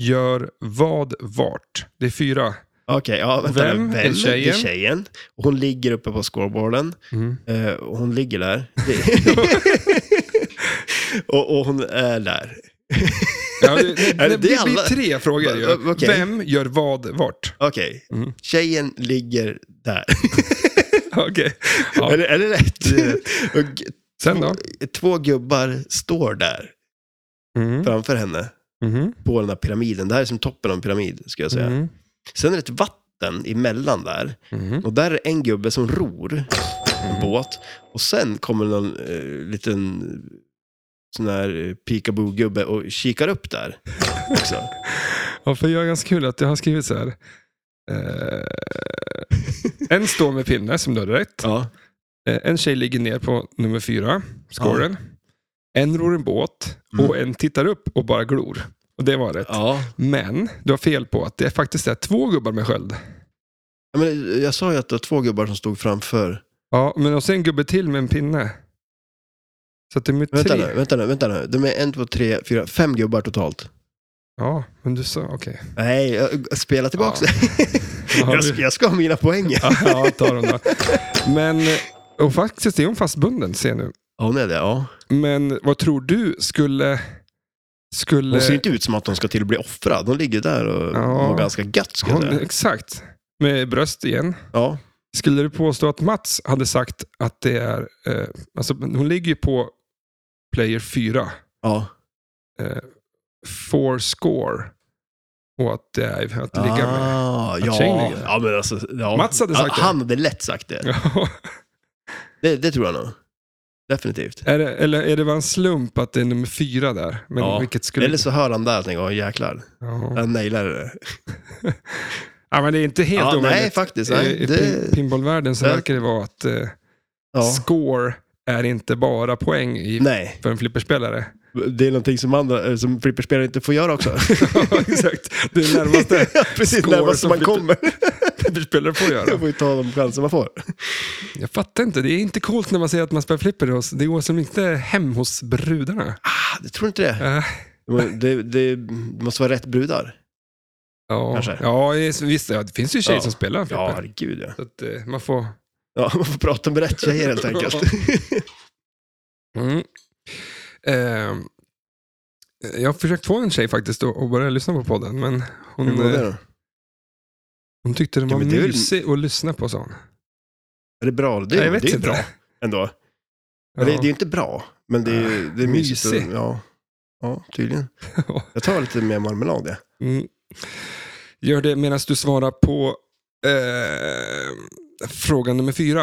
gör vad vart? Det är fyra.
Okej, ja, vänta nu.
Vem är tjejen?
Det är tjejen. Och hon ligger uppe på scoreboarden.
Mm.
Eh, och hon ligger där. och, och hon är där.
Ja, det, det,
det
det, blir
alla-
tre frågor ju.
Va- va- okej.
Vem gör vad vart?
Okej,
Mm.
tjejen ligger där.
Okej. Ja.
Är, det, är det rätt?
Det är
och g-
Sen då?
två gubbar står där
Mm.
framför henne.
Mhm.
På den här pyramiden. Det här är som toppen av en pyramid, ska jag säga.
Mm.
Sen är det ett vatten emellan där.
Mhm.
Och där är en gubbe som ror en båt. Och sen kommer någon eh, liten sån här eh, peekaboo-gubbe och kikar upp där också.
Ja, för jag är ganska kul att jag har skrivit så här. Eh, en står med pinne, som du hade rätt.
ja.
Eh, en tjej ligger ner på nummer fyra, scoren. En ror en båt och en tittar upp och bara glor. Och det var rätt.
Mm. ja.
Men du har fel på att det faktiskt är två gubbar med sköld.
Ja, Men jag sa ju att det var två gubbar som stod framför.
Ja, men och sen en gubbe till med en pinne. Så att det är med
Vänta
tre.
nu, vänta nu, vänta nu. De är en, två, tre, fyra, fem gubbar totalt.
Ja, men du sa okej.
Nej, jag, spela tillbaka.
Ja,
jag,
du-
ska- jag ska ha mina poäng. Ja,
ja, ta dem då. Men, och faktiskt är hon fastbunden, ser jag nu.
hon är det, ja.
Men vad tror du skulle... skulle
Hon ser inte ut som att hon ska till att bli offrad. Hon ligger där och
Ja.
mår ganska gött, ska jag
hon,
säga.
Exakt. Med bröst igen.
Ja.
Skulle du påstå att Mats hade sagt att det är... Eh, alltså, men hon ligger ju på player 4,
Ja.
eh, four score. Och att det är att ligga med.
ah, ja.
tjejen ligger med.
ja, men alltså, ja.
Mats hade sagt
han,
det.
han hade lätt sagt det.
Ja.
det. Det tror jag nog. Definitivt.
är det, eller är det bara en slump att det är nummer fyra där? Men
Ja.
vilket skulle...
Eller så hör han där och tänker, åh jäklar,
Ja.
han nailade det.
ja, men det är inte helt
Ja, nej,
omöjligt.
faktiskt.
I
Nej,
i
det,
pin- pinballvärlden så
Ja.
verkar det vara att eh,
ja.
score är inte bara poäng i,
nej,
för en flipperspelare.
det är någonting som, andra, eh, som flipperspelare inte får göra också.
Ja, exakt. Det är närmaste
Ja, Precis,
Score
närmast
som
man
flipper-
kommer.
flipperspelare får
Jag
göra.
får ju ta de chanser man får.
Jag fattar inte. Det är inte coolt när man säger att man spelar flipper. hos- Det går som inte hem hos brudarna.
Ah, det tror inte det.
Äh,
Men Det, det måste vara rätt brudar.
ja,
Kanske.
ja, visst. Ja, det finns ju tjejer
Ja.
som spelar flipper.
Ja, herregud ja.
Så att, eh, man får...
ja. Man får prata med rätt tjejer helt enkelt.
Mm. Ehm, jag har försökt få en tjej faktiskt att att börja lyssna på podden, men hon,
Hur var det
eh,
då?
hon tyckte den
Ja,
var
men det är väl-
mysig att lyssna på, sa hon.
Är det bra? Det,
Nej, jag vet
det är ju
inte.
bra ändå.
Ja.
Eller, det är ju inte bra, men det är, ju- det är mysigt. och-
Mysig.
Ja. ja, tydligen.
Ja.
Jag tar lite mer marmelad ja.
Mm. Gör det medan du svarar på eh, fråga nummer fyra.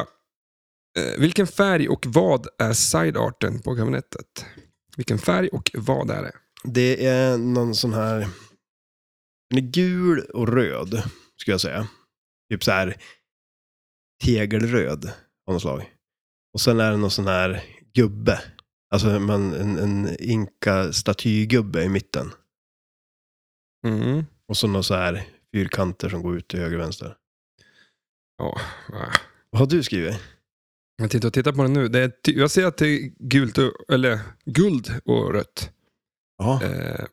Eh, vilken färg och vad är sidearten på kabinettet? Vilken färg och vad är det?
Det är någon sån här... Den är gul och röd, skulle jag säga. Typ så här tegelröd av något slag. Och sen är det någon sån här gubbe. Alltså man, en, en inka-statygubbe i mitten.
Mm.
Och så någon så här fyrkanter som går ut till höger och vänster.
Ja, va.
Vad har du skrivit?
jag tittar, tittar på den nu. Det är, ty- jag ser att det är gult och, eller, guld och rött.
Ja.
Eh,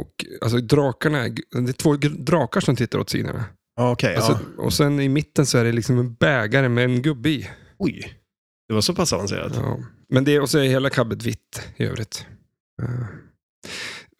och alltså drakarna, är gu- det är två gr- drakar som tittar åt sidorna.
Ja, okej.
Alltså,
ja.
Och sen i mitten så är det liksom en bägare med en gubbe i.
Oj. Det var så pass avancerat.
Ja. Men det, och så är hela kabbet vitt i övrigt. Eh,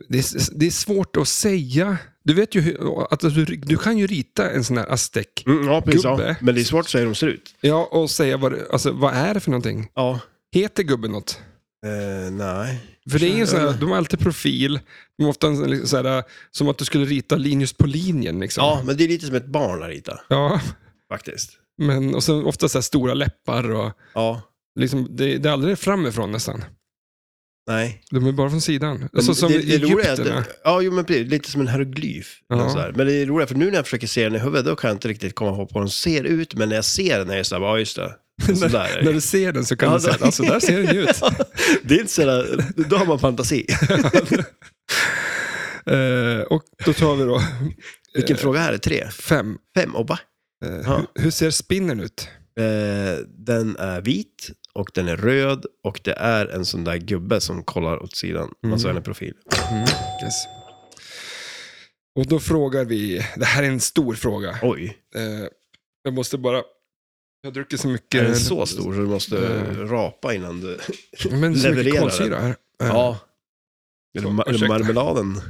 Det är, det är svårt att säga. Du vet ju hur, att du, du kan ju rita en sån här aztek.
Mm, ja, precis. Ja.
Gubbe.
Men det är svårt att säga hur de ser ut.
Ja, och säga vad, det- alltså, vad är det för någonting.
Ja.
Heter gubben något?
Eh, nej.
För det är ju en sån här,
Mm.
de har alltid profil. De har ofta en sån- liksom så här, som att du skulle rita Linus på linjen. Liksom.
Ja, men det är lite som ett barn att rita,
ja.
faktiskt.
Men, och sen ofta så här stora läppar och
Ja.
liksom, det, det är aldrig framifrån nästan.
Nej.
De är bara från sidan. Alltså, som
det, det roliga är att-
egyptierna.
Ja, jo, men precis. Lite som en hieroglyf.
Ja.
eller Så här. Men det är roliga, för nu när jag försöker se den i huvudet, då kan jag inte riktigt komma ihåg vad den ser ut. Men när jag ser den är jag så här, ja just det. Så där är det.
När du ser den så kan
Ja,
du säga,
då-
alltså där ser den ju ut.
Ja, det är inte så där, då har man fantasi.
Eh, och då tar vi då Eh.
Vilken fråga är det? Tre?
fem.
Fem? Obba?
Eh,
Ja.
hur, hur ser spinnen ut?
Eh, den är vit och den är röd och det är en sån där gubbe som kollar åt sidan.
Mm.
Alltså en profil.
Yes. Och då frågar vi, det här är en stor fråga.
Oj,
Eh, jag måste bara, jag dricker så mycket.
är den så stor så du måste eh, rapa innan du...
Men så mycket
Levererar
kolsyra här. Eh,
Ja. Eller,
Så,
ma- eller
ursäkta.
marmeladen.
eh,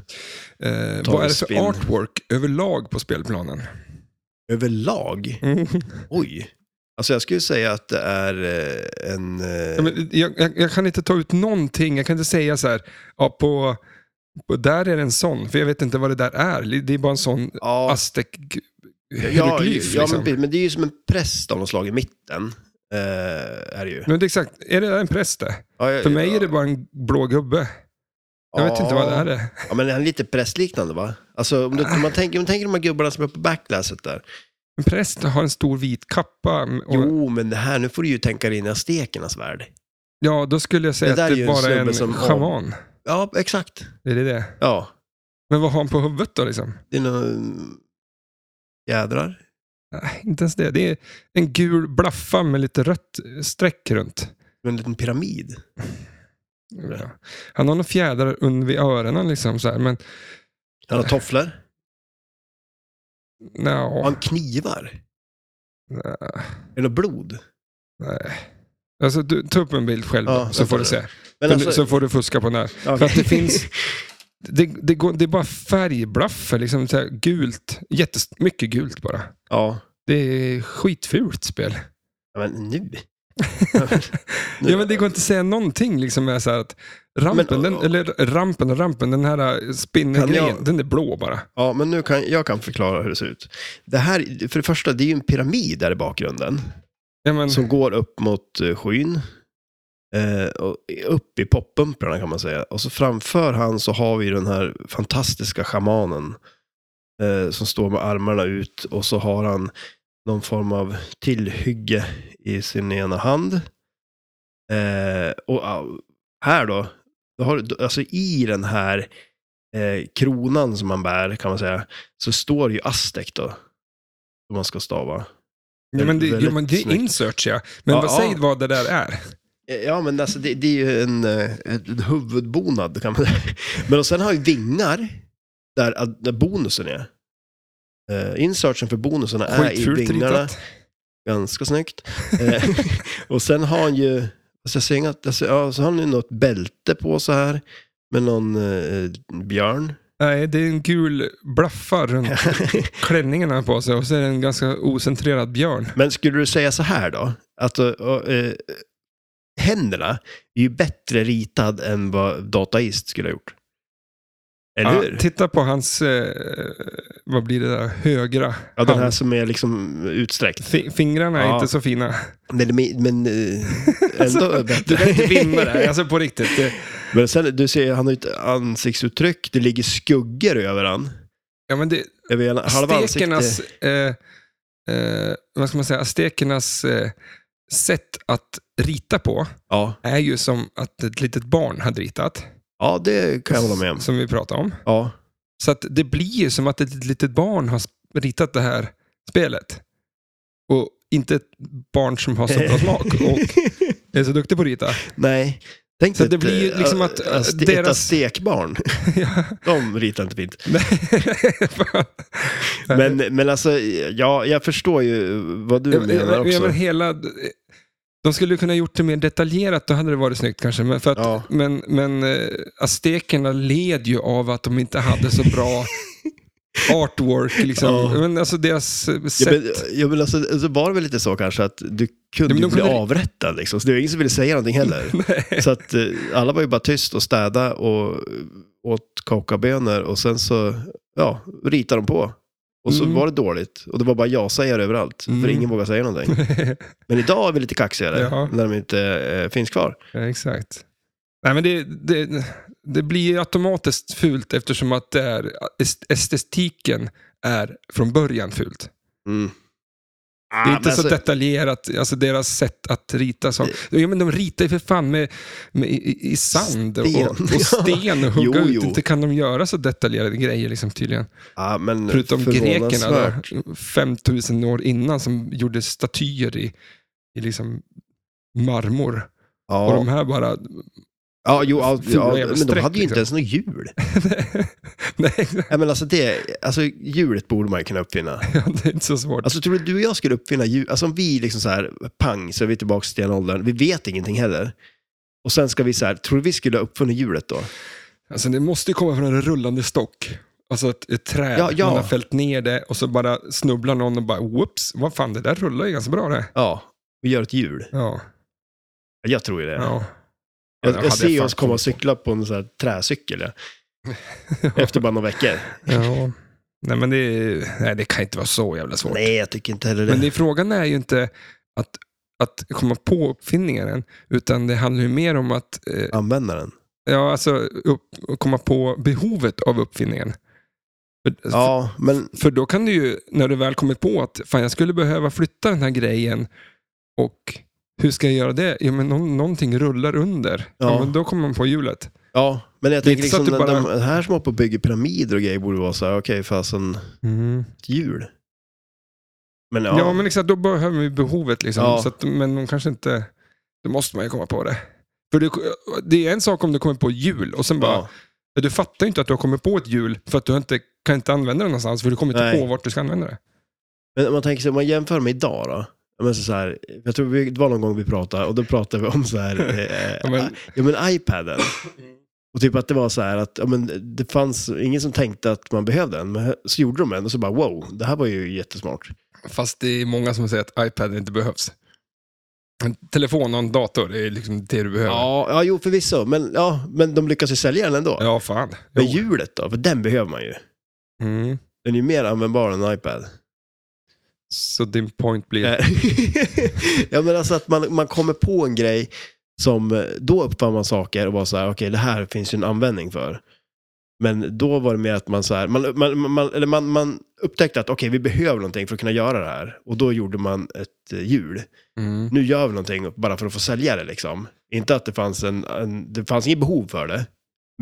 tar
vad är
vi
det för
spinn.
artwork överlag på spelplanen?
Överlag? Oj. Alltså jag skulle säga att det är eh, en... eh,
Ja, men jag, jag, jag kan inte ta ut någonting. Jag kan inte säga så här, ja, på, på, där är det en sån, för jag vet inte vad det där är. Det är bara en sån
ja,
aztek
ja,
hieroglyf.
ja,
liksom. men,
men, precis. men det är ju som en präst av något slag i mitten. Eh, är det ju.
det är exakt, är det där en präst det?
Ja, jag-
För mig är det bara en blå gubbe. Jag vet
Ja.
inte vad det här är.
Ja, men han är lite prästliknande va? Alltså om, du, om man tänker, om man tänker de här gubbarna som är på backlasset där.
En präst har en stor vit kappa. mm, Och,
Jo, men det här, nu får du ju tänka dig in i aztekernas värld.
Ja, då skulle jag säga
Det där
att
är ju
det
en
bara är en
snubbe som-
schaman.
Ja, exakt.
Är det det?
Ja,
Men vad har han på huvudet då liksom?
det är någon... Jädrar.
Nej, inte ens det. Det är en gul blaffa med lite rött streck runt.
En liten pyramid.
Ja. Han har några fjädrar under vid öronen liksom så här, men
Han har tofflor.
no,
Har han knivar? Är det något blod?
nej. Alltså, du, ta upp en bild själv
Ja,
så får du
vänta
se.
Men
Så- så får du fuska på den här.
alltså- ja,
För att det finns... Det, det, går, det är bara färgblaffer, liksom så här, gult. Jättemycket gult bara.
Ja,
Det är skitfult spel.
Ja, men nu. Nu-
Ja, men det går inte att säga någonting liksom med så här att rampen,
Men,
den,
och-
eller rampen, och rampen, den här
Kan
spindelgrejen,
jag-
den är blå bara.
Ja, men nu kan jag kan förklara hur det ser ut. Det här, för det första, det är ju en pyramid där i bakgrunden.
Ja, men,
Som går upp mot eh, skyn. Eh, och upp i poppumprarna kan man säga. Och så framför han så har vi den här fantastiska schamanen. Eh, som står med armarna ut och så har han någon form av tillhygge i sin ena hand. Eh, och ah, här då, då har, du- alltså i den här eh, kronan som man bär kan man säga, så står ju Aztek då. Som man ska stava.
ja, men, det, ja,
väldigt
men det är
snyggt.
insearch ja. Men
Ja,
vad,
ja.
säg vad det där är.
Ja, men alltså det, det är ju en, eh, en huvudbonad kan man säga. Men och sen har ju vingar, där, ad- där bonusen är. Uh, insertion för bonuserna är Eh, i
Skitfult
vingarna.
ritat.
Ganska snyggt. Eh, och sen har han ju, alltså jag ser inget, alltså, ja, så har han ju något bälte på så här. Med någon eh, björn.
Nej, det är en gul blaffa runt klänningen han har på sig och så är det en ganska ocentrerad björn.
Men skulle du säga så här då? Att eh, eh, händerna är ju bättre ritad än vad Dataist skulle ha gjort. Eller
Ja,
hur?
titta på hans, eh, vad blir det där, högra
Ja, den här
hand.
som är liksom utsträckt.
Fi- Fingrarna är
Ja.
inte så fina.
Men, men, men eh, ändå
Du kan inte vinna det här,
bättre.
alltså på riktigt. Det,
men sen, du ser, han har ju ett ansiktsuttryck. Det ligger skuggor över han.
ja, men det,
Över hela, halva
Aztekernas,
ansiktet.
eh, eh, vad ska man säga, aztekernas eh, sätt att rita på
Ja.
är ju som att ett litet barn hade ritat.
ja, det kan jag hålla med om.
Som vi pratade om.
Ja.
Så att det blir ju som att ett litet barn har sp- ritat det här spelet. Och inte ett barn som har så bra smak och är så duktig på att rita.
Nej. Tänk
Så
dig
det
ett,
blir ju
eh,
liksom att, eh,
azte- Ett
deras-
aztekbarn.
Ja.
De ritar inte fint.
Nej.
Men, men alltså, ja, jag förstår ju vad du
Jag- jag-
menar
jag- jag-
också.
men hela, de skulle ju kunna gjort det mer detaljerat, då hade det varit snyggt kanske. Men, för att,
Ja.
men, men eh, aztekerna led ju av att de inte hade så bra artwork. Liksom.
Ja.
Men alltså deras eh,
Ja,
sätt.
men, ja, men alltså, alltså var det väl lite så kanske att du
Ja,
kunde,
men de
ju bli
kunde-
avrättad liksom. Så det var ingen som ville säga någonting heller.
Nej.
Så att eh, alla var ju bara tyst och städa och eh, åt kakabönor och sen så ja, ritade de på. Och så
Mm.
var det dåligt. Och det var bara jag säger överallt. För
Mm.
ingen vågar säga någonting. Men idag är vi lite kaxigare
Ja.
när de inte eh, finns kvar.
ja, exakt. Nej, men det, det, det blir ju automatiskt fult eftersom att det är, est- estetiken är från början fult.
Mm.
Det är
Ah,
inte
men
så
alltså-
detaljerat, alltså deras sätt att rita. Så. Ja, men de ritar ju för fan med, med, i, i sand
Sten.
Och, och sten och hugga
Jo,
ut.
jo.
Inte kan de göra så detaljerade grejer liksom, tydligen.
Ja, ah, men
Förutom grekerna
förvånansvärt.
då, 5000 år innan som gjorde statyer i, i liksom marmor. Och
Ja,
de här bara...
ja, jo, ja,
fula
ja,
jävla
men de
streck,
hade ju inte
liksom.
ens något hjul.
Nej,
Ja, men alltså, det, alltså, hjulet borde man ju kunna uppfinna.
det är inte så svårt.
Alltså tror du du och jag skulle uppfinna djur? Alltså om vi liksom så här, pang, så är vi tillbaka till stenåldern. Vi vet ingenting heller. Och sen ska vi så här, tror du vi skulle ha uppfunnit hjulet då?
Alltså det måste ju komma från en rullande stock. Alltså ett, ett träd,
Ja, ja.
man har fällt ner det och så bara snubblar någon och bara whoops, vad fan det där rullar ju ganska bra det.
Ja, vi gör ett hjul.
Ja,
Jag tror ju det.
ja. Ja, det
Jag,
hade
jag ser
fan
oss komma
kommit
och cykla på en så här träcykel. Ja. Efter bara några veckor.
på. Ja. Nej men det, nej, det kan inte vara så jävla svårt.
Nej, jag tycker inte heller det.
Men det, frågan är ju inte att, att komma på uppfinningen, utan det handlar ju mer om att eh,
Använda den.
ja, alltså, upp, komma på behovet av uppfinningen. För,
Ja, men
För då kan du ju, när du väl kommit på att fan jag skulle behöva flytta den här grejen och hur ska jag göra det? Ja, men nå- någonting rullar under. Ja.
Ja.
men då kommer man på hjulet.
Ja, men jag
Det är
tänker
inte så
liksom,
att du
de,
bara-
de här som håller på och bygger pyramider och grejer borde vara så här, okej, fasen, ett hjul. Men ja,
Ja. men exakt, då behöver vi behovet liksom.
Ja.
Så att, men de kanske inte, då måste man ju komma på det. För det, det är en sak om du kommer på hjul och sen bara,
ja.
ja, du fattar ju inte att du har kommit på ett hjul för att du inte, kan inte använda det någonstans för du kommer inte
Nej.
på vart du ska använda det.
Men om man tänker sig, om man jämför med idag då. Ja, Men så så här, jag tror vi, det var någon gång vi pratade och då pratade vi om så här, eh,
Ja,
ja,
men-
men, iPaden. Och typ att det var så här att ja, men det fanns ingen som tänkte att man behövde den, men så gjorde de en och så bara wow, det här var ju jättesmart.
Fast det är många som säger att iPad inte behövs. En telefon och en dator är liksom det du behöver.
Ja, ja jo förvisso. Men, ja, men de lyckas ju sälja den ändå.
Ja, fan.
Men
Jo.
hjulet då? För den behöver man ju.
Mm.
Den är ju mer användbar än en iPad.
Så din point blir...
Eh, ja, men alltså att man, man kommer på en grej som eh, då uppfann man saker och var så här, okej, det här finns ju en användning för. Men då var det mer att man så här, man, man, man, eller man, man upptäckte att okej, vi behöver någonting för att kunna göra det här. Och då gjorde man ett eh, hjul.
Mm.
Nu gör vi någonting bara för att få sälja det liksom. Inte att det fanns en, en det fanns inget behov för det.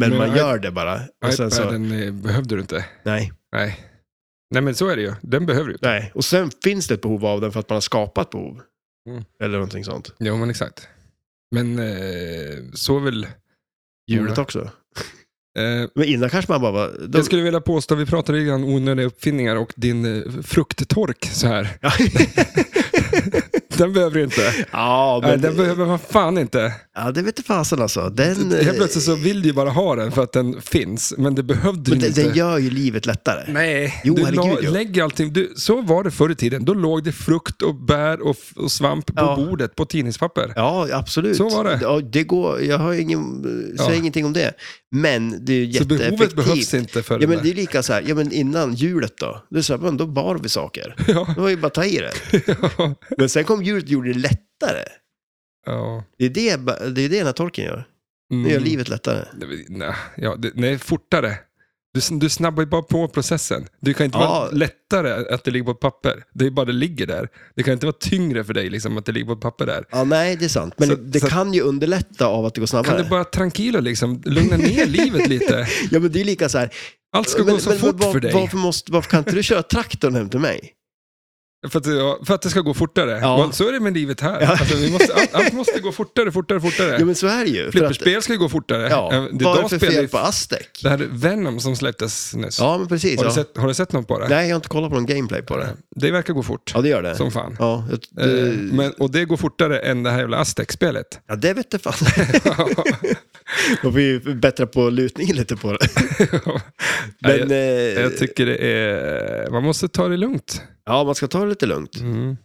Men,
Men
man
i-
gör det bara. Och sen så,
iPaden eh, behövde du inte.
nej,
Nej. Nej, men så är det ju. Den behöver du.
nej. Och sen finns det ett behov av den för att man har skapat behov.
Mm.
Eller någonting sånt.
Jo, men exakt. Men eh, så är väl...
Hjulet
Många.
också.
Eh,
Men innan kanske man bara var... Då...
Jag skulle vilja påstå, vi pratade lite grann onödiga uppfinningar och din eh, frukttork så här.
Ja.
Den behöver du inte.
ja,
Nej,
men...
den behöver man fan inte.
Ja, det vete fasen alltså. Den,
Helt plötsligt så vill du ju bara ha den för att den finns, men det behövde
men
du
den,
inte.
den gör ju livet lättare.
Nej,
Jo,
du
herregud,
la,
jo.
lägger allting. Du, så var det förr i tiden. Då låg det frukt och bär och, f- och svamp på
Ja.
bordet på tidningspapper.
Ja, absolut.
Så var det.
Ja, det går, jag har ingen, eh,
Ja.
säger ingenting om det. Men det är ju
så
jätteeffektivt.
behovet behövs inte för
Ja,
det
men det
där.
är lika så här, ja men innan hjulet då, det är så här, men då bar vi saker.
Ja,
Det var ju bara att ta i det.
ja,
Men sen kom hjulet och gjorde det lättare.
ja.
Det är det, ba- det är det den här torken gör.
Mm.
Den gör livet lättare.
Nej, nej, ja, det, nej fortare. Du, du snabbar ju bara på processen. Det kan inte
Ja.
vara lättare att det ligger på ett papper. Det är bara det ligger där. Det kan inte vara tyngre för dig liksom, att det ligger på ett papper där.
Ja, nej, det är sant. Men
Så-
det
så-
kan ju underlätta av att det går
Kan
snabbare.
du bara tranquilo liksom, lugna ner livet lite?
Ja, men det är lika så här,
Allt ska gå så fort
var-
för dig.
Varför, måste, varför kan inte du köra traktorn hem till mig?
För, att, ja, för att det ska gå fortare.
Ja.
Och Så är det med livet här.
Ja.
Alltså, vi måste, allt, allt måste gå fortare, fortare, fortare.
Ja, men så är det ju. För att,
Flipperspel ska ju gå fortare.
ja,
Eh,
vad är det för
spelar
fel
vi-
på Aztec?
Det här Venom som släpptes nyss.
Ja, men precis.
har, du
Ja.
sett, har du sett något på det?
Nej, jag har inte kollat på någon gameplay på det.
Det verkar gå fort.
Ja, det gör det.
Som fan.
Ja, jag-
Eh,
det,
Men, och det går fortare än det här jävla Aztec-spelet.
ja, det vete fan. Då får vi bättra på lutningen lite på det.
Nej,
Men,
jag, jag
eh,
tycker det är... Man måste ta det lugnt.
ja, man ska ta det lite lugnt.
Mm.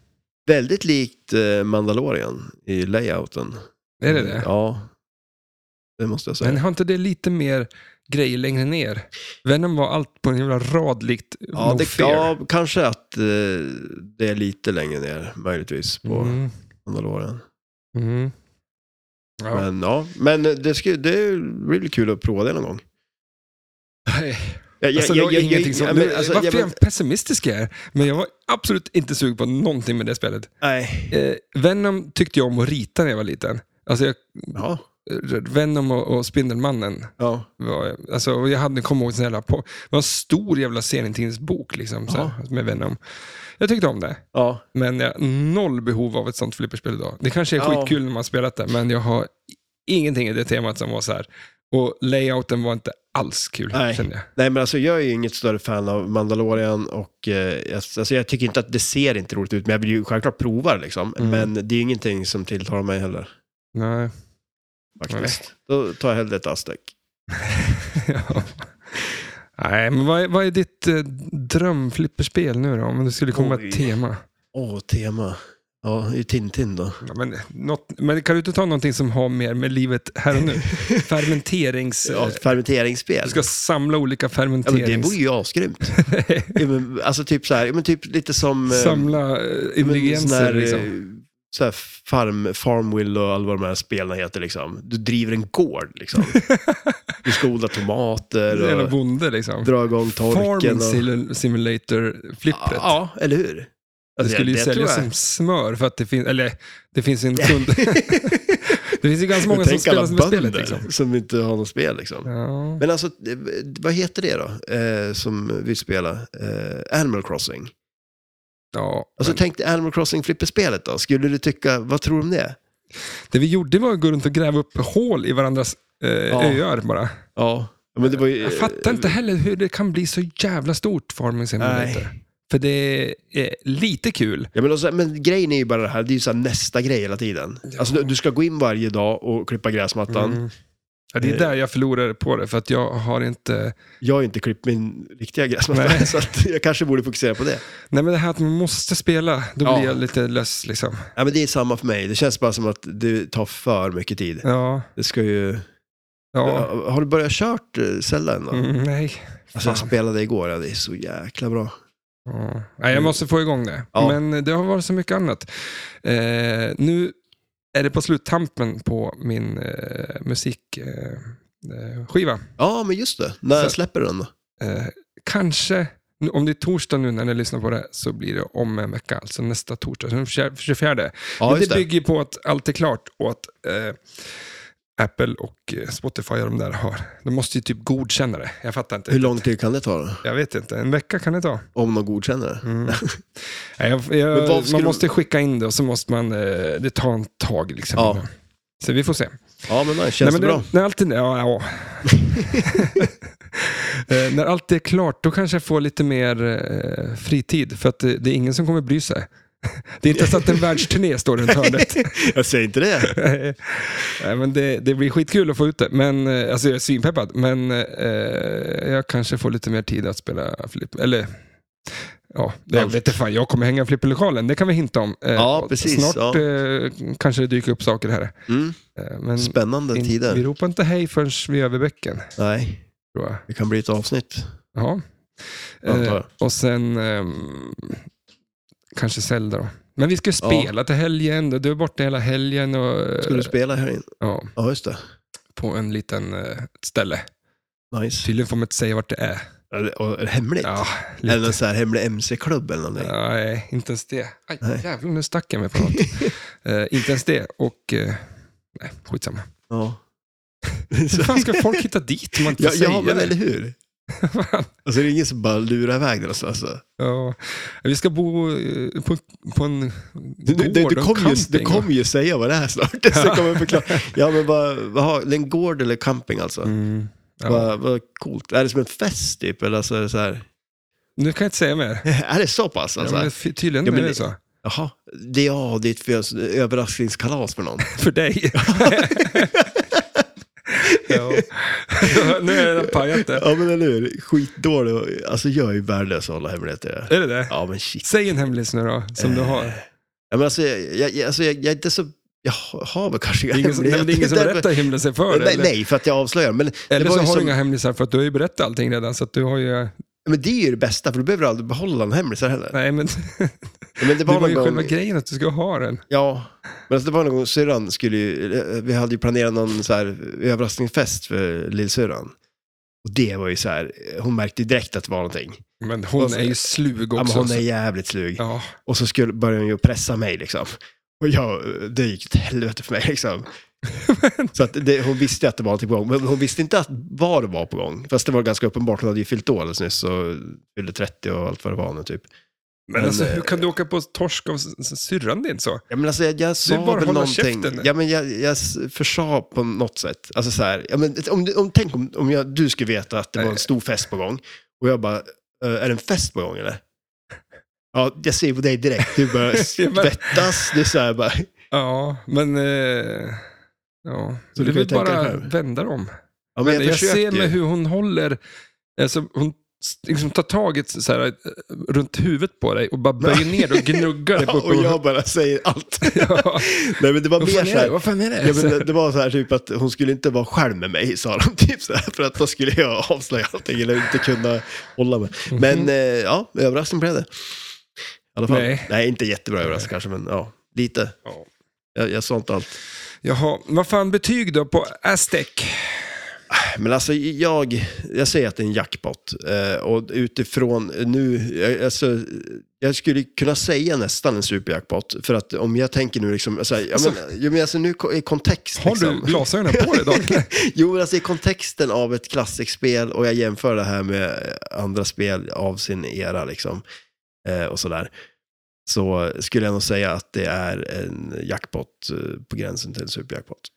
Väldigt likt eh, Mandalorian i layouten.
Är det det?
Ja, det måste jag säga.
Men har inte det lite mer grejer längre ner? Venom var allt på en jävla rad likt
Ja,
No
det,
Fear.
ja, kanske att eh, det är lite längre ner möjligtvis på
Mm.
Mandalorian.
Mm. Ja.
Men ja, men det, ska, det blir väl kul att prova det någon gång.
Nej. Alltså, det var ingenting som...
ja,
nu-
men, alltså,
varför
ja, men-
är jag pessimistisk jag är? Men jag var absolut inte sugen på någonting med det spelet.
Nej.
Eh, Venom tyckte jag om att rita när jag var liten. Alltså jag,
Ja,
Venom och, och Spindelmannen
ja.
var jag. Alltså, och jag hade, kommer ihåg en sån jävla, på, det var en stor jävla serientidningsbok liksom, så här, med Venom. Jag tyckte om det,
ja.
men jag har noll behov av ett sånt flipperspel idag. Det kanske är
Ja.
skitkul när man har spelat det, men jag har ingenting i det temat som var så här. Och layouten var inte alls kul,
Nej.
kände jag.
Nej, men alltså jag är ju inget större fan av Mandalorian och eh, jag- alltså, jag tycker inte att det ser inte roligt ut, men jag vill ju självklart prova det liksom.
Mm.
Men det är ingenting som tilltalar mig heller.
Nej.
Faktiskt. Då tar jag hellre ett Aztec.
ja. Nej, men vad är, vad är ditt eh, drömflipperspel nu då? Om det skulle komma
Oj.
ett tema.
Åh, tema. Ja, det är ju Tintin då.
Ja, men, något, men kan du inte ta någonting som har mer med livet här och nu? Fermenterings...
Ja, ett fermenteringsspel.
Du ska samla olika
Ja, men det
fermenterings...
vore ju asgrymt. Ja, men, alltså typ så här, ja, men typ lite som... eh,
samla eh,
ja, men sån
ingredienser
här, eh,
liksom.
Så här farm, farmwill och alla vad de här spelen heter liksom. Du driver en gård liksom. du ska odla tomater
Eller
och
bonde liksom.
dra igång torken.
Farming
Och...
sil- simulator-flippret.
Ja, eller hur?
det
Alltså,
skulle ju
tror
säljas
jag.
som smör för att det finns... Eller, det finns en kund... det finns ju ganska många som
Tänk
spelar
alla
som spelet
bönder
liksom.
som inte har något spel liksom.
Ja.
Men alltså, eh, vad heter det då? Eh, som vi spelar? Eh, Animal Crossing.
ja.
Alltså tänk dig Animal Crossing flipperspelet då. Skulle du tycka, vad tror du om det?
Det vi gjorde var att gå runt och gräva upp hål i varandras eh, öar bara.
Ja. Men det var ju,
Jag fattar inte heller hur det kan bli så jävla stort, Farming Simulator.
Nej.
För det är lite kul.
Ja, men, alltså, men grejen är ju bara det
Mm.
här, det är ju så här nästa grej hela tiden. Alltså, du, du ska gå in varje dag och klippa gräsmattan.
Ja, det är
Eh.
där jag förlorar på det, för att jag har inte...
Jag har ju inte klippt min riktiga gräsmatta,
Nej.
så att jag kanske borde fokusera på det.
Nej, men det här att man måste spela, då
Ja.
blir jag lite less liksom.
Ja, men det är samma för mig. Det känns bara som att det tar för mycket tid.
Ja,
Det ska ju...
ja.
Har du börjat kört eh, Zelda än då?
Mm, nej.
Alltså jag
Fan.
spelade igår, ja, det är så jäkla bra.
Ja. Nej, jag måste få igång det.
Ja.
Men det har varit så mycket annat. Eh, nu är det på sluttampen på min eh, musikskiva. Eh, skiva.
Ja, men just det. När
Så-
släpper du den då?
eh, kanske, nu- om det är torsdag nu när ni lyssnar på det, så blir det om en vecka, alltså nästa torsdag, så den 24. 24. Men
Ja, just
det
det.
bygger ju på att allt är klart och att eh, Apple och eh, Spotify och de där har, de måste ju typ godkänna det. Jag fattar inte.
Hur lång tid kan det ta då?
Jag vet inte, en vecka kan det ta.
Om de godkänner det?
Mm. Nej, jag, jag,
Men vad skulle
man
du-
måste skicka in det och så måste man, eh, det tar en tag liksom.
Ja.
Så vi får se.
Ja, men nej, känns
nej,
det
men
bra?
När allt, är- ja, ja. Eh, när allt är klart, då kanske jag får lite mer eh, fritid. För att det, det är ingen som kommer bry sig. Det är inte så att en världsturné står runt hörnet.
Jag säger inte det.
Nej, men det, det blir skitkul att få ut det. Men, eh, alltså jag är svinpeppad, men eh, jag kanske får lite mer tid att spela flipp. Eller, ja, jag
Allt.
vet inte fan, jag kommer hänga i flipperlokalen. Det kan vi hinta om. Eh,
Ja,
och
precis,
Snart
ja.
eh, kanske det dyker upp saker här.
Mm.
Eh, men
Spännande
in- vi
tider.
ropar inte hej förrän vi är över bäcken,
Nej,
tror jag.
det kan bli ett avsnitt.
Ja.
Antar jag.
Eh, och sen ehm, kanske Zelda då. Men vi ska ju
Ja.
spela till helgen, du är borta hela helgen. Och,
Ska du spela här inne?
ja,
Ja, just det.
på en liten eh, ett ställe.
Nice.
Tydligen får man inte säga vart det är.
Är det- och är det hemligt?
Ja, lite.
Eller någon så här hemlig MC-klubb eller någonting?
Nej, inte ens det. Aj,
Nej.
jävlar, nu stack jag mig på något. Eh, inte ens det. Och, eh, nej, skitsamma.
Ja.
Hur fan ska folk hitta dit om man inte
ja,
får säga
ja, men
det?
eller hur?
Fan.
Alltså det är ingen som bara lurar iväg den alltså.
ja. Vi ska bo eh, på, på en
Du, du, du,
gård
du,
och
kommer ju,
camping.
du kommer ju säga vad det är snart. Så kommer jag förklara. Ja, men vad, vad har, det är en gård eller camping alltså?
Mm, ja.
Vad, vad coolt. Är det som en fest typ? Eller alltså, är, det så här?
Nu kan jag inte säga mer.
är det så pass alltså?
ja, men fy- tydligen
Ja, men
är det
det-
så.
Jaha, det är ja, det är ett föds- överraskningskalas för någon.
För dig. ja. nu är den pajat det.
Ja men eller hur, skitdålig. Alltså jag är ju värdelös att hålla hemligheter.
Är det det?
Ja Eh. men shit.
Säg en hemlis nu då, som du har.
Ja, men alltså, jag, jag, jag- alltså, jag, jag är inte så, jag har väl kanske
Det är ingen som, nej, men det är ingen som
Därför-
berättar hemlisar för dig.
Nej,
Eller,
nej, för att jag avslöjar. Men, det,
eller
var
så
ju
har du
som,
inga hemlisar för att du har ju berättat allting redan. Så att du har ju...
men det är ju det bästa, för du behöver aldrig behålla en hemlis heller.
Nej, men
Men det
det
var
var
någon
ju själva
gång,
grejen att du ska ha den.
ja, men alltså, det var någon gång syrran skulle ju, eh, vi hade ju planerat någon så här överraskningsfest för lillsyrran. Och det var ju så här, eh, hon märkte ju direkt att det var någonting.
Men hon
Och så-
är ju slug
Ja, men
också. alltså-
hon är jävligt slug.
ja.
Och så skulle, började hon ju pressa mig liksom. Och jag, det gick åt helvete för mig liksom. så att det, hon visste att det var någonting på gång, men hon visste inte att vad det var på gång. Fast det var ganska uppenbart, hon hade ju fyllt år alldeles nyss och fyllde 30 och allt vad det var nu typ.
Men alltså,
eh,
hur kan du åka på torsk av s- s- syrran din så?
Ja, men alltså, jag, jag sa
bara att
väl
hålla
någonting.
käften.
Ja, men jag, jag s- försa på något sätt. Alltså så här, ja, men, om, du- om, tänk om, om jag, du skulle veta att det var en stor fest på gång och jag bara, "Eh, är det en fest på gång eller? Ja, jag ser på dig direkt, du börjar
Ja, men-
svettas, du är så här bara,
Ja, men... Eh, ja.
Så
det
du
är
kan ju
väl
tänka dig
bara
själv.
vända dem.
Ja, men
Men
jag,
jag,
försöker
ser
ju.
med hur hon håller, alltså, hon s- liksom tar taget så här, eh, runt huvudet på dig och bara böjer ner och gnuggar dig.
Ja,
på-
och jag bara säger allt.
Ja.
Nej, men det var
Vad
mer
fan
så
är det?
här.
Vad fan är det?
Ja, men det, det var så här typ att hon skulle inte vara själv med mig, sa de. Typ så här, för att då skulle jag avslöja allting eller inte kunna hålla mig.
Mhm.
Men eh, ja, överraskning blev det. I alla fall.
Nej.
Nej. inte jättebra överraskning kanske, men ja, lite.
Ja.
Jag, jag sa inte allt.
Jaha, vad fan betyg då på Aztec?
Men alltså jag, jag säger att det är en jackpot. Eh, och utifrån nu, jag- alltså, jag skulle kunna säga nästan en superjackpot. För att om jag tänker nu liksom, alltså, ja,
Alltså-
men, jo, men alltså nu ko- i kontext
Har
liksom.
du glasögonen på dig idag?
Jo men alltså i kontexten av ett klassikspel och jag jämför det här med andra spel av sin era liksom. Eh, och sådär. Så skulle jag nog säga att det är en jackpot eh, på gränsen till en superjackpot.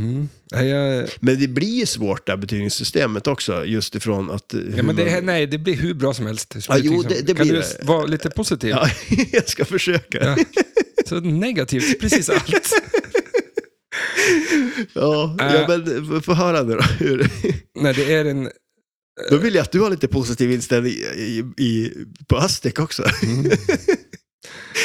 Mm. Nej, jag,
Men det blir ju svårt det här betygssystemet också, just ifrån att... eh, hur
ja, men det,
man-
nej, det blir hur bra som helst. Liksom.
Ja, jo, det-
kan
det blir
du
det.
s- vara lite positiv?
Ja, jag ska försöka.
Ja. Så negativt, precis allt.
Ja,
Eh.
ja men få höra nu då. Hur,
Nej, det är en...
då vill jag att du har lite positiv inställning i, i, på Aztec också.
Mm.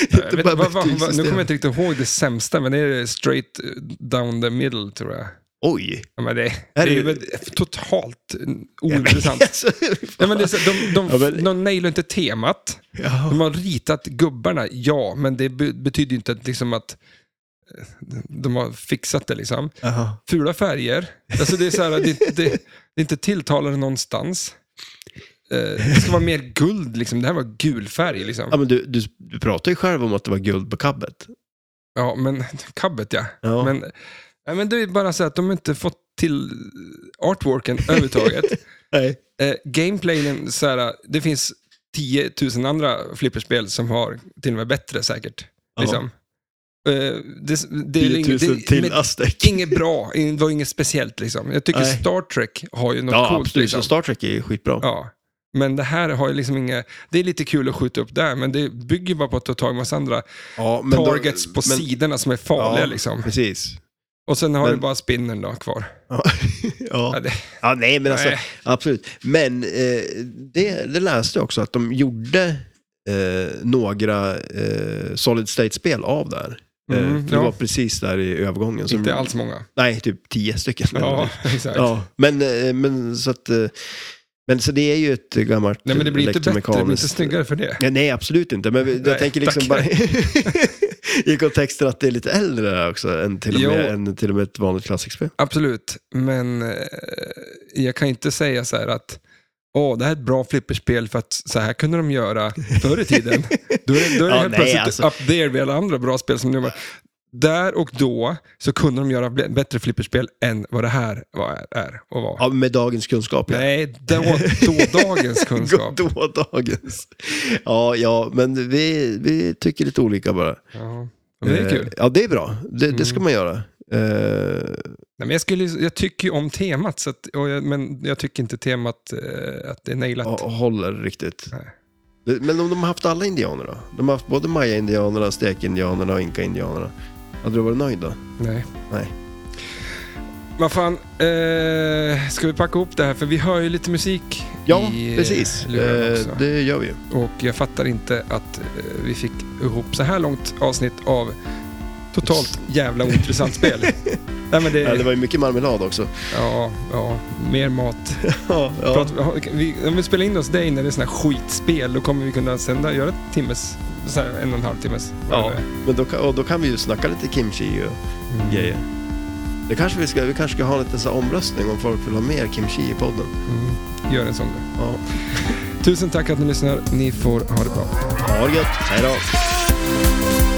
Jag vet,
bara
vad, vad, vad, nu
betygssystem.
kommer jag inte riktigt ihåg det sämsta, men det är straight eh, down the middle tror jag.
Oj!
Ja, men det, det
Är
är
det-
ju väl totalt ointressant.
Alltså,
Ja, men det är så, de, de,
Ja, men-
de nailar inte temat.
ja.
De har ritat gubbarna, ja, men det be- betyder ju inte att, liksom att eh, de har fixat det. Liksom.
Jaha.
Fula färger, alltså det, är så här, det, det, det är inte tilltalande någonstans. Eh, Det ska vara mer guld, liksom. det här var gul färg. Liksom.
Ja, men du, du, du pratar ju själv om att det var guld på kabbet.
Ja, men kabbet ja.
Ja.
Men, nej, men det är bara så att de inte fått till artworken överhuvudtaget.
Nej.
eh, gameplayen, så här, det finns 10 000 andra flipperspel som har till och med bättre säkert.
Ja.
Liksom. Eh, det, det, är
10
inget-
000
det,
till
men
Aztec.
Inget bra, det var inget speciellt. Liksom. Jag tycker
Nej.
Star Trek har ju något
Ja,
coolt.
absolut.
liksom.
Så Star Trek är ju skitbra.
Ja. Men det här har ju liksom inga, det är lite kul att skjuta upp där, men det bygger bara på att ta tag i massa andra
Ja, men då-
targets på
men-
sidorna som är farliga.
Ja.
Liksom.
Precis.
Och sen har
Men-
du bara spinnen då kvar.
Ja.
Ja,
ja.
det,
ja, nej men alltså,
nej.
absolut. Men eh, det, det läste jag också att de gjorde eh, några eh, Solid State-spel av där. eh,
Mm,
för det
ja.
var precis där i övergången. som-
Inte alls många.
Nej, typ tio stycken.
Ja, exakt.
Ja, men, eh, men så att... eh, Men så det är ju ett gammalt
Nej, men det blir inte bättre, det blir inte
elektromekaniskt-
snyggare för det.
Ja, nej, absolut inte. Men vi- jag
Nej,
tänker liksom
tack.
bara i kontexten att det är lite äldre där också än till, och
Jo.
med, än till och med ett vanligt klassikspel.
Absolut, men eh, jag kan inte säga så här att Åh, det här är ett bra flipperspel för att så här kunde de göra förr i tiden. Då är det, då är det
Ja,
helt
nej,
plötsligt
alltså.
up there vid alla andra bra spel som de gör. Där och då så kunde de göra bl- bättre flipperspel än vad det här var, är och var.
Ja, med dagens kunskap. ja.
Nej, då, då dagens kunskap.
Då dagens. Ja, ja, men vi, vi tycker lite olika bara.
Ja, men det är kul.
Eh, Ja, det är bra. Det, det ska
Mm.
man göra. Eh,
Nej, men jag, skulle, jag tycker ju om temat, så att, och jag, men jag tycker inte temat eh, att det är nailat.
och håller riktigt.
Nej.
Det- Men om de har haft alla indianer då? De har haft både maya-indianerna, stekindianerna och inka-indianerna. Hade du varit nöjd då?
Nej.
Nej.
Vad fan, eh, ska vi packa ihop det här? För vi hör ju lite musik
Ja,
i eh,
precis.
lurarna
Eh,
också.
Det gör vi ju.
Och jag fattar inte att eh, vi fick ihop så här långt avsnitt av totalt jävla ointressant spel. Nej, men det,
Ja, det var ju mycket marmelad också.
ja, ja, mer mat.
Ja, ja.
Prat, vi, om vi spelar in oss dig när det är sådana här skitspel, då kommer vi kunna sända, göra ett timmes, så här en och en halv timmes. Mm. vad
ja.
det är.
Men då, kan- och då kan vi ju snacka lite kimchi och
Mm.
grejer. Det kanske vi, ska, vi kanske ska ha en liten så här omröstning om folk vill ha mer kimchi i podden.
Mm. Gör en sån där.
Ja.
Tusen tack att ni lyssnar. Ni får ha det bra.
Ha det gött. Hej då.
Thank